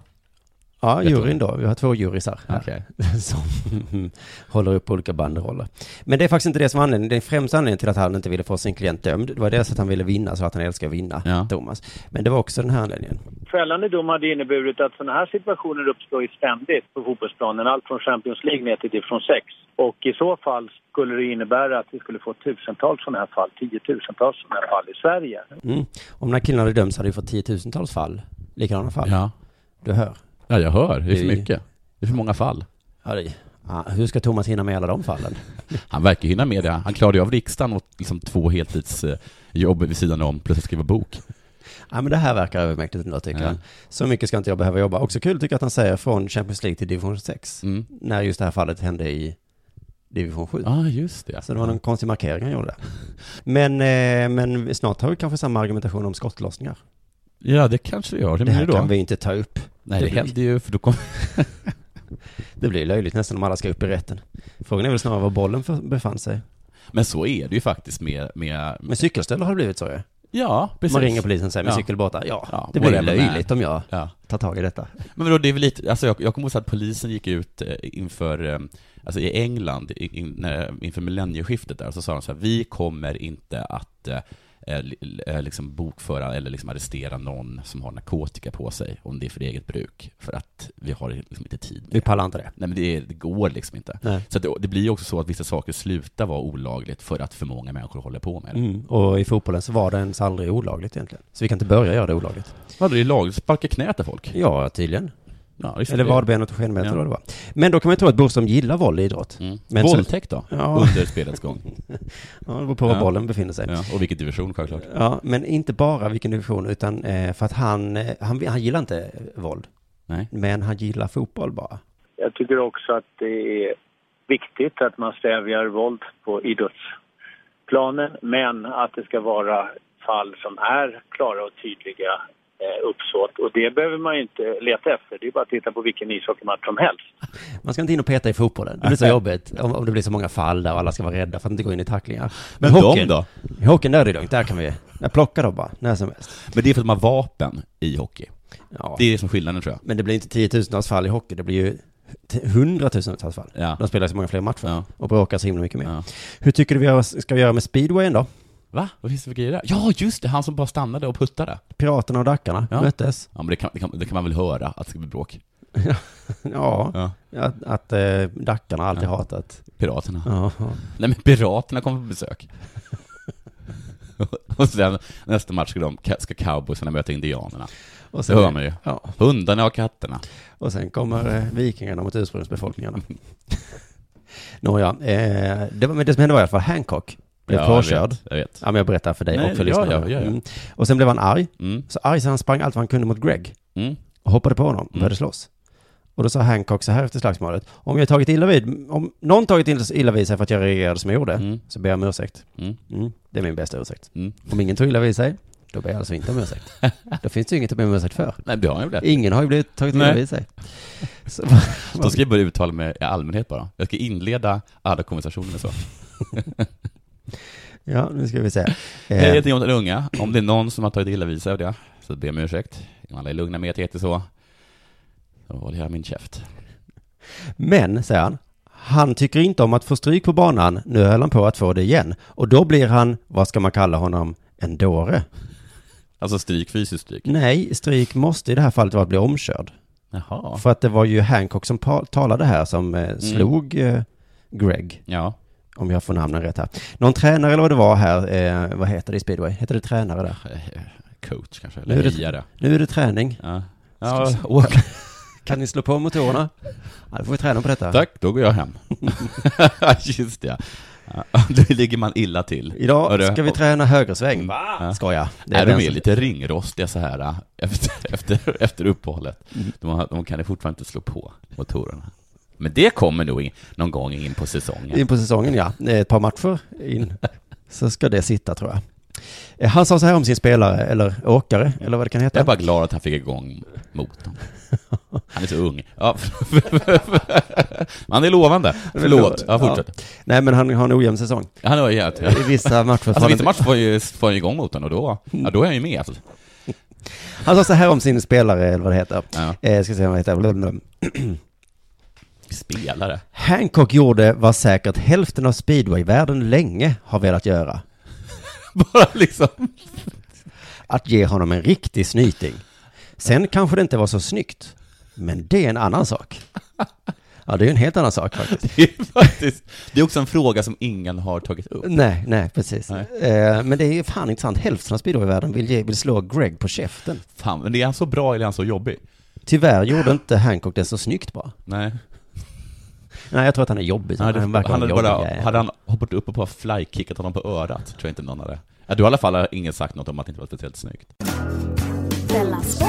Speaker 6: Ja,
Speaker 7: Vet du?
Speaker 6: juryn då. Vi har två jurisar här
Speaker 7: Okej.
Speaker 6: som håller upp olika banderoller. Men det är faktiskt inte det som var anledningen. Den främsta anledningen till att han inte ville få sin klient dömd, det var dels att han ville vinna, så att han älskar att vinna, Thomas. Men det var också den här anledningen.
Speaker 10: Fällande dom hade inneburit att sådana här situationer uppstår ju ständigt på fotbollsplanen. Allt från Champions League ner till division 6. Och i så fall skulle det innebära att vi skulle få tusentals sådana här fall, tiotusentals sådana här fall i Sverige.
Speaker 6: Mm. Om den här killen hade dömts hade vi fått tiotusentals fall, likadana fall.
Speaker 7: Ja.
Speaker 6: Du hör.
Speaker 7: Ja, jag hör. Det är för mycket. Det är för många fall.
Speaker 6: Ja, det är... ja, hur ska Thomas hinna med alla de fallen?
Speaker 7: Han verkar ju hinna med det. Han klarade ju av riksdagen och liksom två heltidsjobb vid sidan om, plus att skriva bok.
Speaker 6: Ja, men det här verkar övermäktigt ändå, tycker
Speaker 7: Ja.
Speaker 6: han. Så mycket ska inte jag behöva jobba. Också kul tycker jag att han säger från Champions League till division 6.
Speaker 7: Mm.
Speaker 6: När just det här fallet hände i division 7.
Speaker 7: Ja, just det.
Speaker 6: Så det var någon konstig markering han gjorde. där. Men, eh, men snart har vi kanske samma argumentation om skottlossningar.
Speaker 7: Ja, det kanske vi gör. Hur
Speaker 6: Det här
Speaker 7: blir det då?
Speaker 6: kan vi inte ta upp.
Speaker 7: Nej, det
Speaker 6: blir-
Speaker 7: händer ju, för då kommer...
Speaker 6: det blir löjligt nästan om alla ska upp i rätten. Frågan är väl snarare var bollen för- befann sig.
Speaker 7: Men så är det ju faktiskt med... med...
Speaker 6: Men cykelstölder har det blivit så ju.
Speaker 7: Ja, precis.
Speaker 6: Man ringer polisen och säger, min
Speaker 7: Ja.
Speaker 6: cykel är borta. Ja,
Speaker 7: Ja,
Speaker 6: det blir
Speaker 7: whatever,
Speaker 6: löjligt
Speaker 7: man.
Speaker 6: om jag
Speaker 7: Ja.
Speaker 6: tar tag i detta.
Speaker 7: Men vadå, det är väl lite, alltså jag, jag kommer ihåg så att polisen gick ut eh, inför, eh, alltså i England, i- in, när- inför millennieskiftet där, och så sa de så här, vi kommer inte att eh, eh, li- eh, liksom bokföra eller liksom arrestera någon som har narkotika på sig, om det är för eget bruk, för att vi har liksom inte tid med
Speaker 6: Vi pallar inte det.
Speaker 7: Nej men det, är- det går liksom inte.
Speaker 6: Nej.
Speaker 7: Så att det, det blir ju också så att vissa saker slutar vara olagligt för att för många människor håller på med det.
Speaker 6: Mm. Och i fotbollen så var det ens aldrig olagligt egentligen. Så vi kan inte börja göra det olagligt.
Speaker 7: Vadå, det är lagligt att sparka knät av folk?
Speaker 6: Ja, tydligen.
Speaker 7: Ja, visst är
Speaker 6: Eller
Speaker 7: det.
Speaker 6: vadbenet och skenbenet
Speaker 7: Ja. Mm.
Speaker 6: eller vad det var. Men då kan man ju tro att Boström gillar våld i idrott. Men så-
Speaker 7: Våldtäkt då?
Speaker 6: Ja.
Speaker 7: Under spelets gång?
Speaker 6: Ja, det beror på var bollen befinner sig.
Speaker 7: Ja, och vilken division självklart.
Speaker 6: Ja, men inte bara vilken division, utan eh, för att han, eh, han, han gillar inte eh, våld.
Speaker 7: Nej.
Speaker 6: Men han gillar fotboll bara.
Speaker 10: Jag tycker också att det är viktigt att man stävjar våld på idrottsplanen men att det ska vara fall som är klara och tydliga eh, uppsåt. Och det behöver man ju inte leta efter. Det är bara att titta på vilken ishockeymatch som helst.
Speaker 6: Man ska inte in och peta i fotbollen. Det blir så
Speaker 7: Nej.
Speaker 6: jobbigt om, om det blir så många fall där och alla ska vara rädda för att inte gå in i tacklingar.
Speaker 7: Men de då?
Speaker 6: I hockeyn där är det lugnt, där kan vi... Där plockar de bara, när som helst.
Speaker 7: Men det är för att de har vapen i hockey.
Speaker 6: Ja.
Speaker 7: Det är det som är skillnaden tror jag.
Speaker 6: Men det blir inte tiotusentals fall i hockey, det blir ju t- hundratusentals fall.
Speaker 7: Ja.
Speaker 6: De spelar så många fler matcher
Speaker 7: Ja.
Speaker 6: och bråkar så himla mycket mer. Hur tycker du vi gör- ska vi göra med speedwayen då?
Speaker 7: Va? Vad finns det för grejer där? Ja, just det! Han som bara stannade och puttade.
Speaker 6: Piraterna och Dackarna
Speaker 7: Ja.
Speaker 6: möttes.
Speaker 7: Ja, men det kan, det, kan, det kan man väl höra att det ska bli bråk?
Speaker 6: Ja,
Speaker 7: Ja.
Speaker 6: att, att eh, Dackarna har alltid hatat.
Speaker 7: Piraterna.
Speaker 6: Ja.
Speaker 7: Nej men piraterna kommer på besök. och sen nästa match ska, de, ska cowboysarna möta indianerna.
Speaker 6: Och
Speaker 7: Och
Speaker 6: sen-
Speaker 7: det hör man ju.
Speaker 6: ja.
Speaker 7: Hundarna och katterna.
Speaker 6: Och sen kommer eh, vikingarna mot ursprungsbefolkningarna. Nåja, eh, det var, men det som hände var i alla fall Hancock blev
Speaker 7: Ja, jag
Speaker 6: påkörd.
Speaker 7: vet, jag vet.
Speaker 6: Ja, men jag berättar för dig
Speaker 7: Nej,
Speaker 6: och för
Speaker 7: ja,
Speaker 6: lyssnarna.
Speaker 7: ja, ja, ja.
Speaker 6: Mm. Och sen blev han arg.
Speaker 7: Mm.
Speaker 6: Så arg så han sprang allt vad han kunde mot Greg.
Speaker 7: Mm.
Speaker 6: Och hoppade på honom och började slåss. Och då sa Hancock så här efter slagsmålet. Om jag tagit illa vid, om någon tagit illa vid sig för att jag reagerade som jag gjorde, så ber jag om ursäkt.
Speaker 7: Mm.
Speaker 6: Det är min bästa ursäkt.
Speaker 7: Mm.
Speaker 6: Om ingen tog illa vid sig, då ber jag alltså inte om ursäkt. då finns det ju inget att be om ursäkt för.
Speaker 7: Nej, det har han ju blivit.
Speaker 6: Ingen har ju blivit tagit illa
Speaker 7: Nej.
Speaker 6: vid sig. Så,
Speaker 7: Då ska jag börja uttala mig i allmänhet bara. Jag ska inleda alla konversationer med så.
Speaker 6: Ja, nu ska vi se.
Speaker 7: Hej,
Speaker 6: Eh,
Speaker 7: heter Jonathan Unga. Om det är någon som har tagit illa vid sig av det, så ber jag om ursäkt. Alla är lugna med att jag heter så. Då håller jag min käft.
Speaker 6: men, säger han, han tycker inte om att få stryk på banan. Nu höll han på att få det igen. Och då blir han, vad ska man kalla honom, en dåre.
Speaker 7: Alltså stryk, fysiskt stryk.
Speaker 6: Nej, stryk måste i det här fallet vara att bli omkörd.
Speaker 7: Jaha.
Speaker 6: För att det var ju Hancock som pa- talade här som eh, slog eh, Greg.
Speaker 7: Ja.
Speaker 6: Om jag får namnen rätt här. Någon tränare eller vad det var här, eh, vad heter det i speedway? Heter det tränare där?
Speaker 7: Eh, Coach kanske,
Speaker 6: nu, är
Speaker 7: eller hejare.
Speaker 6: det, nu är det träning.
Speaker 7: Ja.
Speaker 6: Ska vi
Speaker 7: Ja,
Speaker 6: se.
Speaker 7: och,
Speaker 6: Kan ni slå på motorerna? Ja, då får vi träna på detta.
Speaker 7: tack, då går jag hem. Just det. Då ligger man illa till.
Speaker 6: Idag
Speaker 7: Hörru,
Speaker 6: ska vi träna högersväng.
Speaker 7: Ja.
Speaker 6: Va? Skoja.
Speaker 7: Det är Nej, de är
Speaker 6: vänster.
Speaker 7: lite ringrostiga så här äh, efter, efter, efter uppehållet. De, har- de kan ju fortfarande inte slå på motorerna. Men det kommer nog in, någon gång in på säsongen.
Speaker 6: In på säsongen, ja. Eh, Ett par matcher in. Så ska det sitta, tror jag. Eh, Han sa så här om sin spelare, eller åkare, eller vad det kan heta.
Speaker 7: Jag är bara glad att han fick igång motorn. Han är så ung. Ja. Han är lovande. Förlåt. Ja, fortsätt.
Speaker 6: Nej, men han har en ojämn säsong.
Speaker 7: Han har ju jävligt
Speaker 6: I vissa matcher får
Speaker 7: Alltså
Speaker 6: han-
Speaker 7: vissa matcher får ju, får han igång motorn och då, ja, då är han ju med. Alltså.
Speaker 6: Han sa så här om sin spelare, eller vad det heter. Eh, ska se vad det heter. Blablabla.
Speaker 7: Spelare.
Speaker 6: Hancock gjorde vad säkert hälften av speedway-världen länge har velat göra.
Speaker 7: Bara liksom.
Speaker 6: Att ge honom en riktig snyting. Sen kanske det inte var så snyggt. Men det är en annan sak. Ja, det är ju en helt annan sak faktiskt.
Speaker 7: Det är, faktiskt, det är också en fråga som ingen har tagit upp.
Speaker 6: Nej, nej, precis.
Speaker 7: Nej.
Speaker 6: Eh, men det är ju fan intressant. Hälften av speedwayvärlden vill, ge- vill slå Greg på käften.
Speaker 7: Fan, men är han så bra eller är han så jobbig?
Speaker 6: Tyvärr gjorde inte Hancock det så snyggt bara.
Speaker 7: Nej.
Speaker 6: Nej, jag tror att han är jobbig.
Speaker 7: Han hade,
Speaker 6: han verkar
Speaker 7: han hade,
Speaker 6: vara en jobbig
Speaker 7: bara,
Speaker 6: jävel.
Speaker 7: hade han hoppat upp och bara flykickat honom på örat, tror jag inte någon hade. Ja, du har i alla fall ingen sagt något om att det inte var speciellt snyggt.
Speaker 5: Della Sport.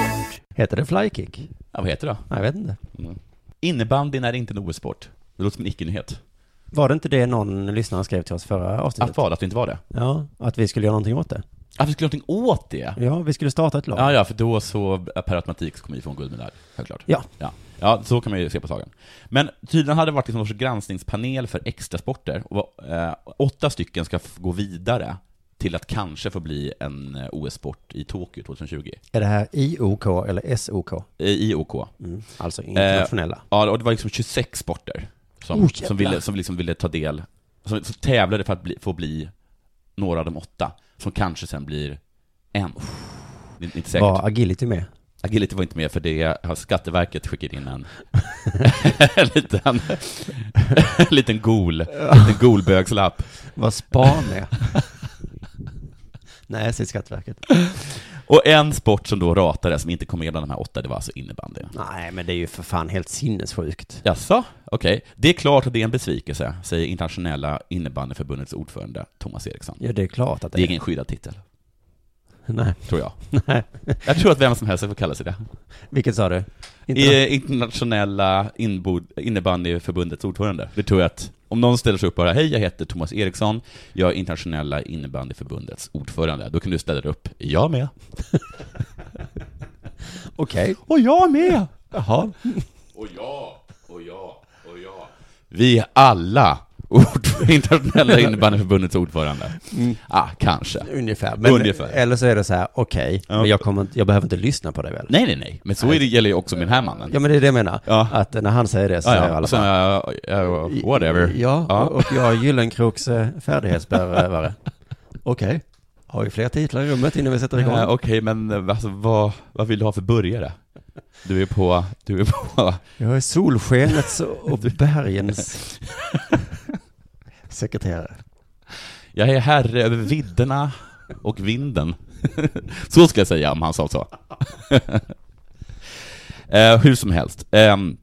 Speaker 6: Heter det flykick?
Speaker 7: Ja, vad heter det
Speaker 6: Nej, jag vet inte.
Speaker 7: Mm. Innebandyn är inte en OS-sport. Det låter som en icke-nyhet.
Speaker 6: Var det inte det någon lyssnare skrev till oss förra avsnittet?
Speaker 7: Att vad? Att det inte var det?
Speaker 6: Ja, att vi skulle göra någonting åt det.
Speaker 7: Att vi skulle göra någonting åt det?
Speaker 6: Ja, vi skulle starta ett lag.
Speaker 7: Ja, ja, för då så eh, per automatik så kommer vi få en guldmedalj, självklart.
Speaker 6: Ja.
Speaker 7: ja. Ja, så kan man ju se på saken. Men tydligen hade det varit liksom någon sorts granskningspanel för extrasporter, och eh, åtta stycken ska f- gå vidare till att kanske få bli en eh, OS-sport i Tokyo 2020.
Speaker 6: Är det här IOK eller SOK?
Speaker 7: I i OK.
Speaker 6: Mm, alltså internationella.
Speaker 7: Eh, ja, och det var liksom 26 sporter som,
Speaker 6: Oh, jävlar.
Speaker 7: som, ville, som liksom ville ta del, som, som tävlade för att bli, få bli några av de åtta, som kanske sen blir en. Det är inte säkert.
Speaker 6: Var agility med?
Speaker 7: Agility var inte med för det har Skatteverket skickat in en, en liten, en liten gol, en liten golbögslapp.
Speaker 6: Vad span är? Nej, säger Skatteverket.
Speaker 7: Och en sport som då ratades, som inte kom med bland de här åtta, det var alltså innebandy.
Speaker 6: Nej, men det är ju för fan helt sinnessjukt.
Speaker 7: Jaså? Okej. Det är klart att det är en besvikelse, säger internationella innebandyförbundets ordförande Thomas Eriksson.
Speaker 6: Ja, det är klart att det
Speaker 7: Det är
Speaker 6: är.
Speaker 7: ingen skyddad titel,
Speaker 6: Nej.
Speaker 7: tror jag.
Speaker 6: Nej.
Speaker 7: Jag tror att vem som helst får kalla sig det.
Speaker 6: Vilket sa du?
Speaker 7: I internationella inbod- innebandyförbundets ordförande. Det tror jag att, om någon ställer sig upp och bara hej, jag heter Thomas Eriksson, jag är internationella innebandyförbundets ordförande. Då kan du ställa dig upp, jag med.
Speaker 6: Okej.
Speaker 7: Och jag med! Jaha. Och jag, och jag, och jag. Vi är alla ord- internationella innebandyförbundets ordförande. Ah, kanske.
Speaker 6: Ungefär. Men,
Speaker 7: Ungefär.
Speaker 6: Eller så är det så här, okej, men jag, kommer, inte- jag behöver inte lyssna på det väl?
Speaker 7: Nej, nej, nej. Men så är det, gäller ju också med den här mannen.
Speaker 6: Ja, men det är det jag menar. Att när han säger det så
Speaker 7: Ja,
Speaker 6: säger
Speaker 7: ja. Alltså,
Speaker 6: alla
Speaker 7: Och sen,
Speaker 6: bara,
Speaker 7: ja, ja, whatever.
Speaker 6: Ja, och- och jag är Gyllenkroks eh, färdighetsberövare. Okej. Har vi fler titlar i rummet innan vi sätter igång?
Speaker 7: Eh, Okej, men eh, alltså, vad, vad vill du ha för burgare? Du är på, du är på,
Speaker 6: Jag är solskenets och bergens sekreterare.
Speaker 7: jag är herre över vidderna och vinden. så ska jag säga om han sa så. eh, hur som helst. Ehm,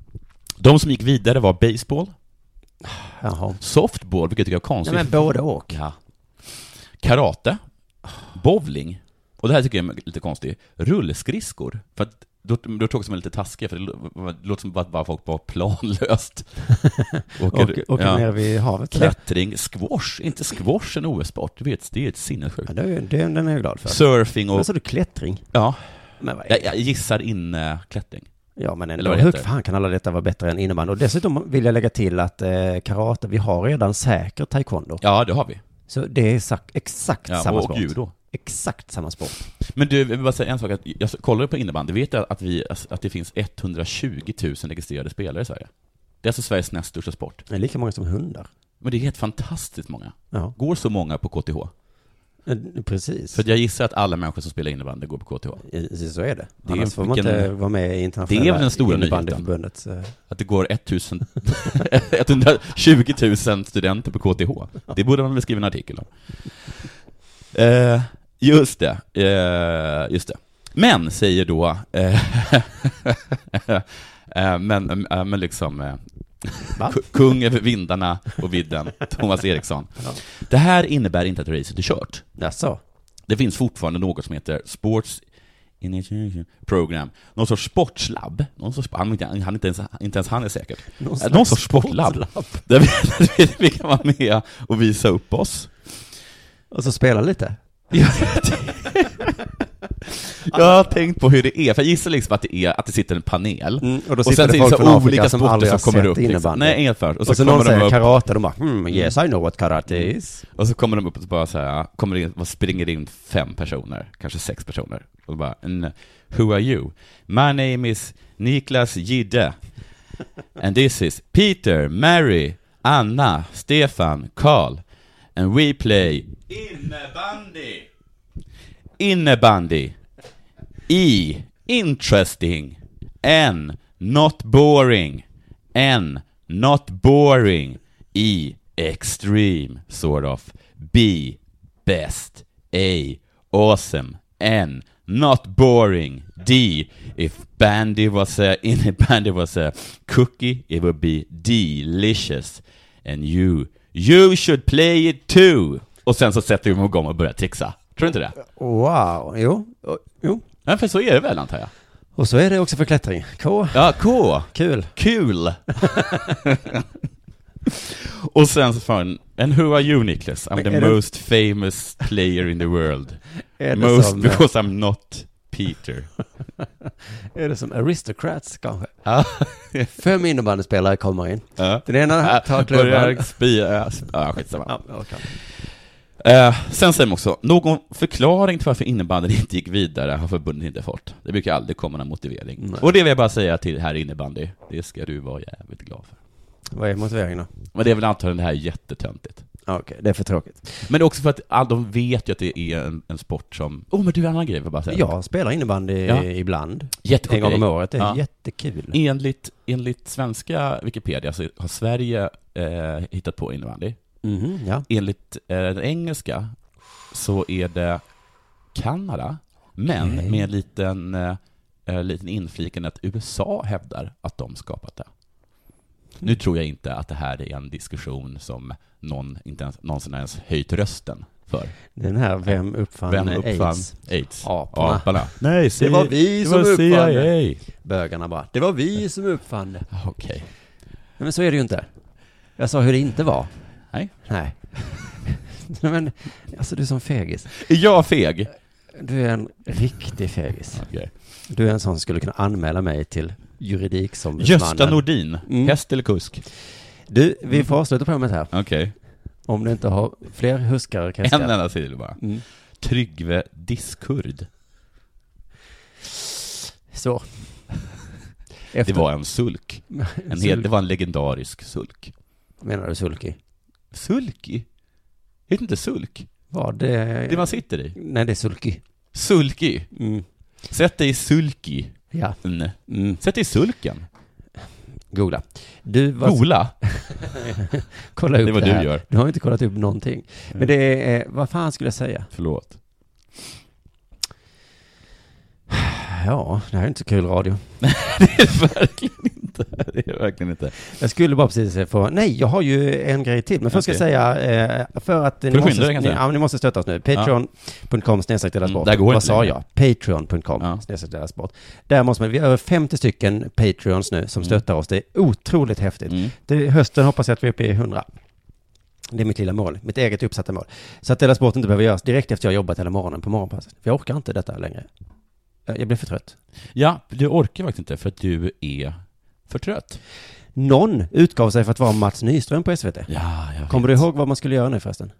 Speaker 7: de som gick vidare var baseball,
Speaker 6: Jaha.
Speaker 7: softball, vilket jag tycker är
Speaker 6: Nej,
Speaker 7: konstigt.
Speaker 6: men både och.
Speaker 7: Ja. Karate, bowling, och det här tycker jag är lite konstigt, rullskridskor. För att då, då tog som är lite taskiga, för det lå- det låter som att bara folk bara planlöst
Speaker 6: Åker, åker
Speaker 7: ja.
Speaker 6: ner vid havet. eller?
Speaker 7: Klättring, squash, inte squash en OS-sport, du vet, det är ett sinnessjukt.
Speaker 6: Ja, det är, ju- det, den är jag glad för.
Speaker 7: Surfing
Speaker 6: Men
Speaker 7: och...
Speaker 6: så du klättring?
Speaker 7: Ja,
Speaker 6: Men vad är
Speaker 7: jag,
Speaker 6: det?
Speaker 7: jag gissar in eh, klättring.
Speaker 6: Ja, men
Speaker 7: Eller
Speaker 6: ändå.
Speaker 7: vad det
Speaker 6: Hur
Speaker 7: heter.
Speaker 6: fan kan alla detta vara bättre än innebandy? Och dessutom vill jag lägga till att eh, karate, vi har redan säker taekwondo.
Speaker 7: Ja, det har vi.
Speaker 6: Så det är sak- exakt
Speaker 7: Ja,
Speaker 6: samma
Speaker 7: och
Speaker 6: sport.
Speaker 7: judo.
Speaker 6: Exakt samma sport.
Speaker 7: Men du, jag vill bara säga en sak, att jag kollade på innebandy, vet du att, vi, att det finns 120 000 registrerade spelare i Sverige? Det är alltså Sveriges näst största sport.
Speaker 6: Det är lika många som hundar.
Speaker 7: Men det är helt fantastiskt många.
Speaker 6: Ja,
Speaker 7: Går så många på KTH?
Speaker 6: eh, precis.
Speaker 7: För jag gissar att alla människor som spelar innebandy går på KTH.
Speaker 6: I- i- Så är det.
Speaker 7: Det är
Speaker 6: Annars får man
Speaker 7: vilken-
Speaker 6: inte vara med i internationella
Speaker 7: Det är väl den stora
Speaker 6: innebandyförbundets... eh,
Speaker 7: Att det går 1000, 120 000 studenter på KTH. Det borde man väl skriva en artikel om. Eh, just det, eh, just det. Men, säger då, eh, eh, men, eh, men liksom eh, Ku- Kung över vindarna och vidden, Thomas Eriksson. Det här innebär inte att racet är kört.
Speaker 6: Jaså?
Speaker 7: Det finns fortfarande något som heter Sports Initiation Program. Någon sorts sportlabb. Någon sorts, han, inte, han, inte, ens, inte ens han är säker.
Speaker 6: Någon
Speaker 7: Någon,
Speaker 6: slags
Speaker 7: Någon sorts sportlabb.
Speaker 6: sportlabb.
Speaker 7: Där vi, där vi- vi kan vara med och visa upp oss.
Speaker 6: Och så spela lite?
Speaker 7: Jag har tänkt på hur det är, för jag gissar liksom att det är att det sitter en panel.
Speaker 6: Mm, och då sitter det folk från Afrika som aldrig har sett innebandy.
Speaker 7: liksom. Nej, inget för.
Speaker 6: Och så någon säger karate, de bara, "Hmm,
Speaker 7: Mm,
Speaker 6: yes, I know what karate is.
Speaker 7: Och så kommer de upp och bara så här, kommer in, vad springer in fem personer, kanske sex personer. Och bara, "Mm, who are you? My name is Niklas Gide. And this is Peter, Mary, Anna, Stefan, Karl. And we play Innebandy! Innebandy. I. Interesting. N. Not boring. N. Not boring. E. Extreme. Sort of. B. Best. A. Awesome. N. Not boring. D. If bandy was a, in a bandy was a cookie, it would be delicious. And you, you should play it too! Och sen så sätter vi igång och börjar trixa. Tror du inte det?
Speaker 6: Wow, jo, och- jo.
Speaker 7: Ja, för så är det väl antar jag?
Speaker 6: Och så är det också för klättring. K.
Speaker 7: Ja, K.
Speaker 6: Kul.
Speaker 7: Kul! och sen så fan, and who are you Niklas? I'm
Speaker 6: Men
Speaker 7: the
Speaker 6: är det-
Speaker 7: most famous player in the world.
Speaker 6: Är det
Speaker 7: most
Speaker 6: som-
Speaker 7: because I'm not Peter.
Speaker 6: Är det som Aristocrats kanske?
Speaker 7: Ja.
Speaker 6: Fem innebandyspelare kommer in.
Speaker 7: Ja.
Speaker 6: Den ena tar
Speaker 7: Äh, Börjar
Speaker 6: klubban.
Speaker 7: spy, ja, sp- ja skitsamma.
Speaker 6: Ja, okej.
Speaker 7: Eh, sen säger de också, någon förklaring till varför innebandyn inte gick vidare har förbundet inte fått. Det brukar aldrig komma någon motivering.
Speaker 6: Nej.
Speaker 7: Och det vill jag bara säga till herr innebandy, det ska du vara jävligt glad för.
Speaker 6: Vad är motiveringen då?
Speaker 7: Men det är väl antagligen det här jättetöntigt.
Speaker 6: Ja, Okej, det är för tråkigt.
Speaker 7: Men det är också för att all, de vet ju att det är en, en sport som... Åh, oh, men du, en annan grej för bara säga.
Speaker 6: Jag spelar innebandy
Speaker 7: Ja.
Speaker 6: ibland.
Speaker 7: Jättekul
Speaker 6: En gång om
Speaker 7: grej.
Speaker 6: året. Det är
Speaker 7: Ja.
Speaker 6: jättekul.
Speaker 7: Enligt, enligt svenska Wikipedia så har Sverige eh, hittat på innebandy.
Speaker 6: Mhm, ja.
Speaker 7: Enligt eh, den engelska så är det Kanada, men
Speaker 6: Okej.
Speaker 7: med en liten, eh, eh, liten infliken att USA hävdar att de skapat det. Nu
Speaker 6: Mm.
Speaker 7: tror jag inte att det här är en diskussion som någon inte ens, någonsin ens höjt rösten för.
Speaker 6: Den här, vem uppfann
Speaker 7: Vem uppfann
Speaker 6: AIDS?
Speaker 7: AIDS?
Speaker 6: Aporna.
Speaker 7: Aporna. Nej,
Speaker 6: Det var vi som uppfann
Speaker 7: CIA.
Speaker 6: det. Ah, Bögarna bara. Det var vi som uppfann det.
Speaker 7: Okej.
Speaker 6: Nej, men så är det ju inte. Jag sa hur det inte var.
Speaker 7: Nej.
Speaker 6: Nej. Nej men, alltså du är som fegis.
Speaker 7: Är jag feg?
Speaker 6: Du är en riktig fegis.
Speaker 7: Okej.
Speaker 6: Du är en sån som skulle kunna anmäla mig till juridikombudsmannen.
Speaker 7: Gösta Nordin,
Speaker 6: Mm.
Speaker 7: häst eller kusk?
Speaker 6: Du, vi får avsluta programmet här.
Speaker 7: Okej.
Speaker 6: Om du inte har fler huskar kan jag
Speaker 7: En
Speaker 6: säga.
Speaker 7: enda till bara.
Speaker 6: Mm.
Speaker 7: Tryggve Diskurd.
Speaker 6: Så.
Speaker 7: Det var en sulk. En hel,
Speaker 6: Sulk.
Speaker 7: det var en legendarisk sulk.
Speaker 6: Menar du sulky?
Speaker 7: Sulky? Heter inte sulk?
Speaker 6: Var det...
Speaker 7: Det man sitter i?
Speaker 6: Nej, det är sulky.
Speaker 7: Sulky.
Speaker 6: Mm.
Speaker 7: Sätt dig i sulky.
Speaker 6: Ja.
Speaker 7: Mm.
Speaker 6: Mm.
Speaker 7: Sätt dig i sulken.
Speaker 6: Googla. Du, vad...
Speaker 7: Gola.
Speaker 6: Kolla upp
Speaker 7: Det är vad
Speaker 6: det
Speaker 7: du
Speaker 6: här.
Speaker 7: gör.
Speaker 6: Du har ju inte kollat upp någonting. Men det är, eh, vad fan skulle jag säga?
Speaker 7: Förlåt.
Speaker 6: Ja, det här är inte så kul radio.
Speaker 7: Verkligen inte. Det är verkligen inte.
Speaker 6: Jag skulle bara precis få, nej, jag har ju en grej till. Men först ska
Speaker 7: Okej.
Speaker 6: jag säga, eh, för att eh,
Speaker 7: Får
Speaker 6: ni
Speaker 7: du skynda
Speaker 6: måste,
Speaker 7: dig,
Speaker 6: ni,
Speaker 7: kanske?
Speaker 6: ja, ni måste stötta oss nu. Patreon.com snedstreck deras
Speaker 7: Mm,
Speaker 6: sport.
Speaker 7: där går
Speaker 6: Vad
Speaker 7: inte
Speaker 6: sa
Speaker 7: längre.
Speaker 6: jag? Patreon.com
Speaker 7: Ja.
Speaker 6: snedstreck deras sport. Där måste man, vi har över 50 stycken Patreons nu som stöttar oss. Det är otroligt häftigt.
Speaker 7: Mm.
Speaker 6: Det, hösten hoppas jag att vi är uppe i 100. Det är mitt lilla mål, mitt eget uppsatta mål. Så att Della Sport inte behöver göras direkt efter jag har jobbat hela morgonen på morgonpasset. För jag orkar inte detta längre. Jag jag blir för trött.
Speaker 7: Ja, du orkar faktiskt inte för att du är för trött.
Speaker 6: Någon utgav sig för att vara Mats Nyström på SVT.
Speaker 7: Ja, jag
Speaker 6: Kommer du ihåg vad man skulle göra nu förresten?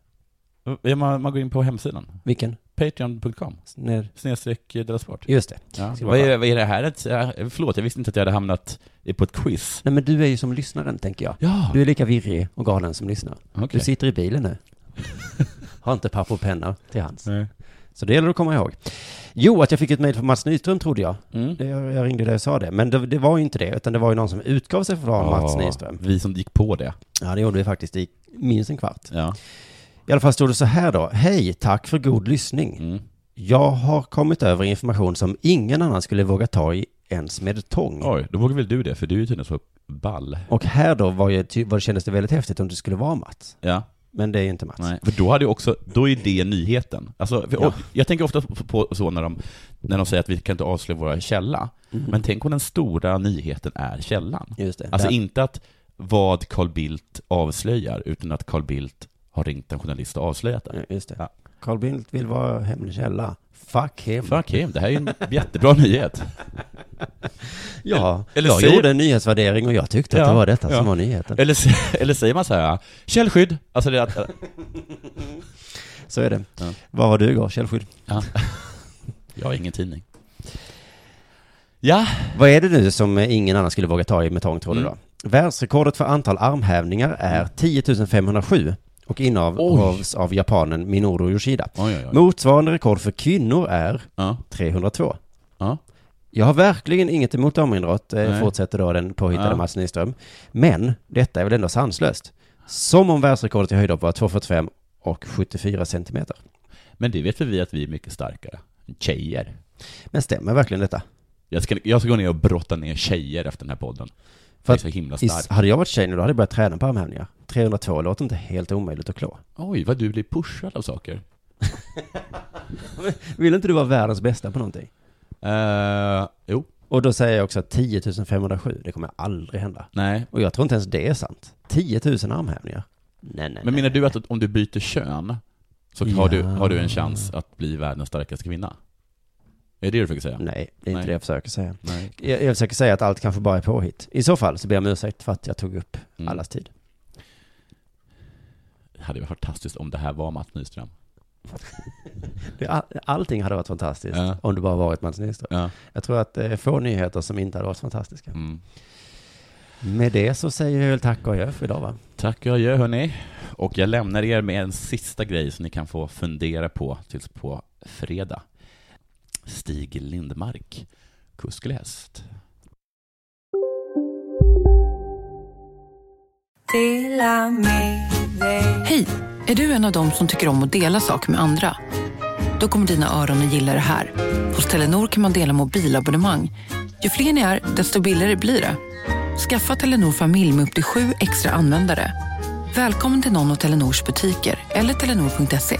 Speaker 7: ihåg? Man, man går in på hemsidan.
Speaker 6: Vilken?
Speaker 7: Patreon.com.
Speaker 6: När?
Speaker 7: Snedstreck eh, Della Sport.
Speaker 6: Just det.
Speaker 7: Ja,
Speaker 6: Ska
Speaker 7: vad,
Speaker 6: bara-
Speaker 7: är, vad är det här? Ett, eh, förlåt, jag visste inte att jag hade hamnat i- på ett quiz.
Speaker 6: Nej men du är ju som lyssnaren tänker jag.
Speaker 7: Ja,
Speaker 6: Du är lika virrig och galen som lyssnar.
Speaker 7: Okej.
Speaker 6: Du sitter i bilen nu. Har inte papper och penna till hands. Så det gäller att komma ihåg. Jo, att jag fick ett mejl från Mats Nyström trodde jag.
Speaker 7: Mm.
Speaker 6: Det, jag jag ringde dig och sa det. Men det, det var ju inte det, utan det var ju någon som utgav sig för att vara Mats
Speaker 7: Ja,
Speaker 6: Nyström.
Speaker 7: Vi som gick på det.
Speaker 6: Ja, det gjorde vi faktiskt i minst en kvart.
Speaker 7: Ja.
Speaker 6: I alla fall stod det så här då. Hej, tack för god lyssning.
Speaker 7: Mm.
Speaker 6: Jag har kommit över information som ingen annan skulle våga ta i ens med tång.
Speaker 7: Oj, då vågar väl du det, för du är ju tydligen så ball.
Speaker 6: Och här då var, ju, ty- var det kändes det väldigt häftigt om det skulle vara Mats.
Speaker 7: Ja.
Speaker 6: Men det är ju inte Mats.
Speaker 7: Nej, för då hade ju också, då är det nyheten. Alltså, för, och, jag tänker ofta på så när de, när de säger att vi kan inte avslöja våra källa,
Speaker 6: Mm.
Speaker 7: men tänk om den stora nyheten är källan.
Speaker 6: Just det.
Speaker 7: Alltså
Speaker 6: Där-
Speaker 7: inte att vad Carl Bildt avslöjar, utan att Carl Bildt har ringt en journalist och avslöjat det.
Speaker 6: Just det. Carl Bildt vill vara hemlig källa. Fuck him.
Speaker 7: Fuck him, det här är ju en jättebra nyhet.
Speaker 6: Ja,
Speaker 7: Eller
Speaker 6: jag
Speaker 7: säger-
Speaker 6: gjorde en nyhetsvärdering och jag tyckte att det var detta som var nyheten.
Speaker 7: Eller, s- eller säger man så här, källskydd, alltså det är att...
Speaker 6: Så är det.
Speaker 7: Ja.
Speaker 6: Vad har du igår, källskydd?
Speaker 7: Ja. Jag har ingen tidning. Ja.
Speaker 6: Vad är det nu som eh, ingen annan skulle våga ta i med tång, tror du
Speaker 7: Mm.
Speaker 6: då? Världsrekordet för antal armhävningar är 10 507 och innehas av japanen Minoru Yoshida.
Speaker 7: oj, oj.
Speaker 6: Motsvarande rekord för kvinnor är 302. Jag har verkligen inget emot damidrott, eh,
Speaker 7: Nej.
Speaker 6: fortsätter då den påhittade
Speaker 7: Ja.
Speaker 6: Mats Nyström. Men detta är väl ändå sanslöst. Som om världsrekordet i höjdhopp var 2,45 och 74 centimeter.
Speaker 7: Men det vet väl vi att vi är mycket starkare. Tjejer.
Speaker 6: Men stämmer verkligen detta?
Speaker 7: Jag ska, jag ska gå ner och brotta ner tjejer efter den här podden. För det är så himla
Speaker 6: i-
Speaker 7: starkt.
Speaker 6: hade jag varit tjej nu, då hade jag börjat träna på armhävningar. 302 låter inte helt omöjligt att klå.
Speaker 7: Oj, vad du blir pushad av saker.
Speaker 6: Vill inte du vara världens bästa på någonting?
Speaker 7: Eh, jo.
Speaker 6: Och då säger jag också att 10 507, det kommer aldrig hända.
Speaker 7: Nej.
Speaker 6: Och jag tror inte ens det är sant. 10 000 armhävningar? Nej, nej,
Speaker 7: Men menar du att om du byter kön, så har, du,
Speaker 6: Ja.
Speaker 7: har du en chans att bli världens starkaste kvinna? Är det det du försöker säga?
Speaker 6: Nej, det är inte
Speaker 7: Nej.
Speaker 6: det jag försöker säga.
Speaker 7: Nej.
Speaker 6: Jag, jag försöker säga att allt kanske bara är påhitt. I så fall så ber jag om ursäkt för att jag tog upp allas tid.
Speaker 7: Det hade varit fantastiskt om det här var Mats Nyström.
Speaker 6: Det, all, allting hade varit fantastiskt
Speaker 7: Ja.
Speaker 6: om det bara varit Mats Nyström.
Speaker 7: Ja.
Speaker 6: Jag tror att det är få nyheter som inte hade varit fantastiska.
Speaker 7: Mm.
Speaker 6: Med det så säger vi väl tack och adjö för idag va?
Speaker 7: Tack och adjö hörni. Och jag lämnar er med en sista grej som ni kan få fundera på tills på fredag. Stig Lindmark, kuskläst.
Speaker 4: Hej! Är du en av dem som tycker om att dela saker med andra? Då kommer dina öron att gilla det här. Hos Telenor kan man dela mobilabonnemang. Ju fler ni är, desto billigare blir det. Skaffa Telenor familj med upp till sju extra användare. Välkommen till någon av Telenors butiker eller telenor.se.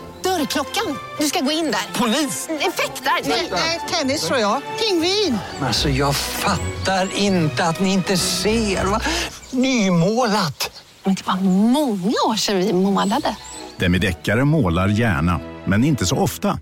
Speaker 11: Dörrklockan. Du ska gå in där. Polis? Effektar? Nej, nej, tennis tror jag. Pingvin.
Speaker 12: Alltså jag fattar inte att ni inte ser. Va? Nymålat!
Speaker 11: Men det var många år sedan vi målade.
Speaker 13: Demideckare målar gärna, men inte så ofta.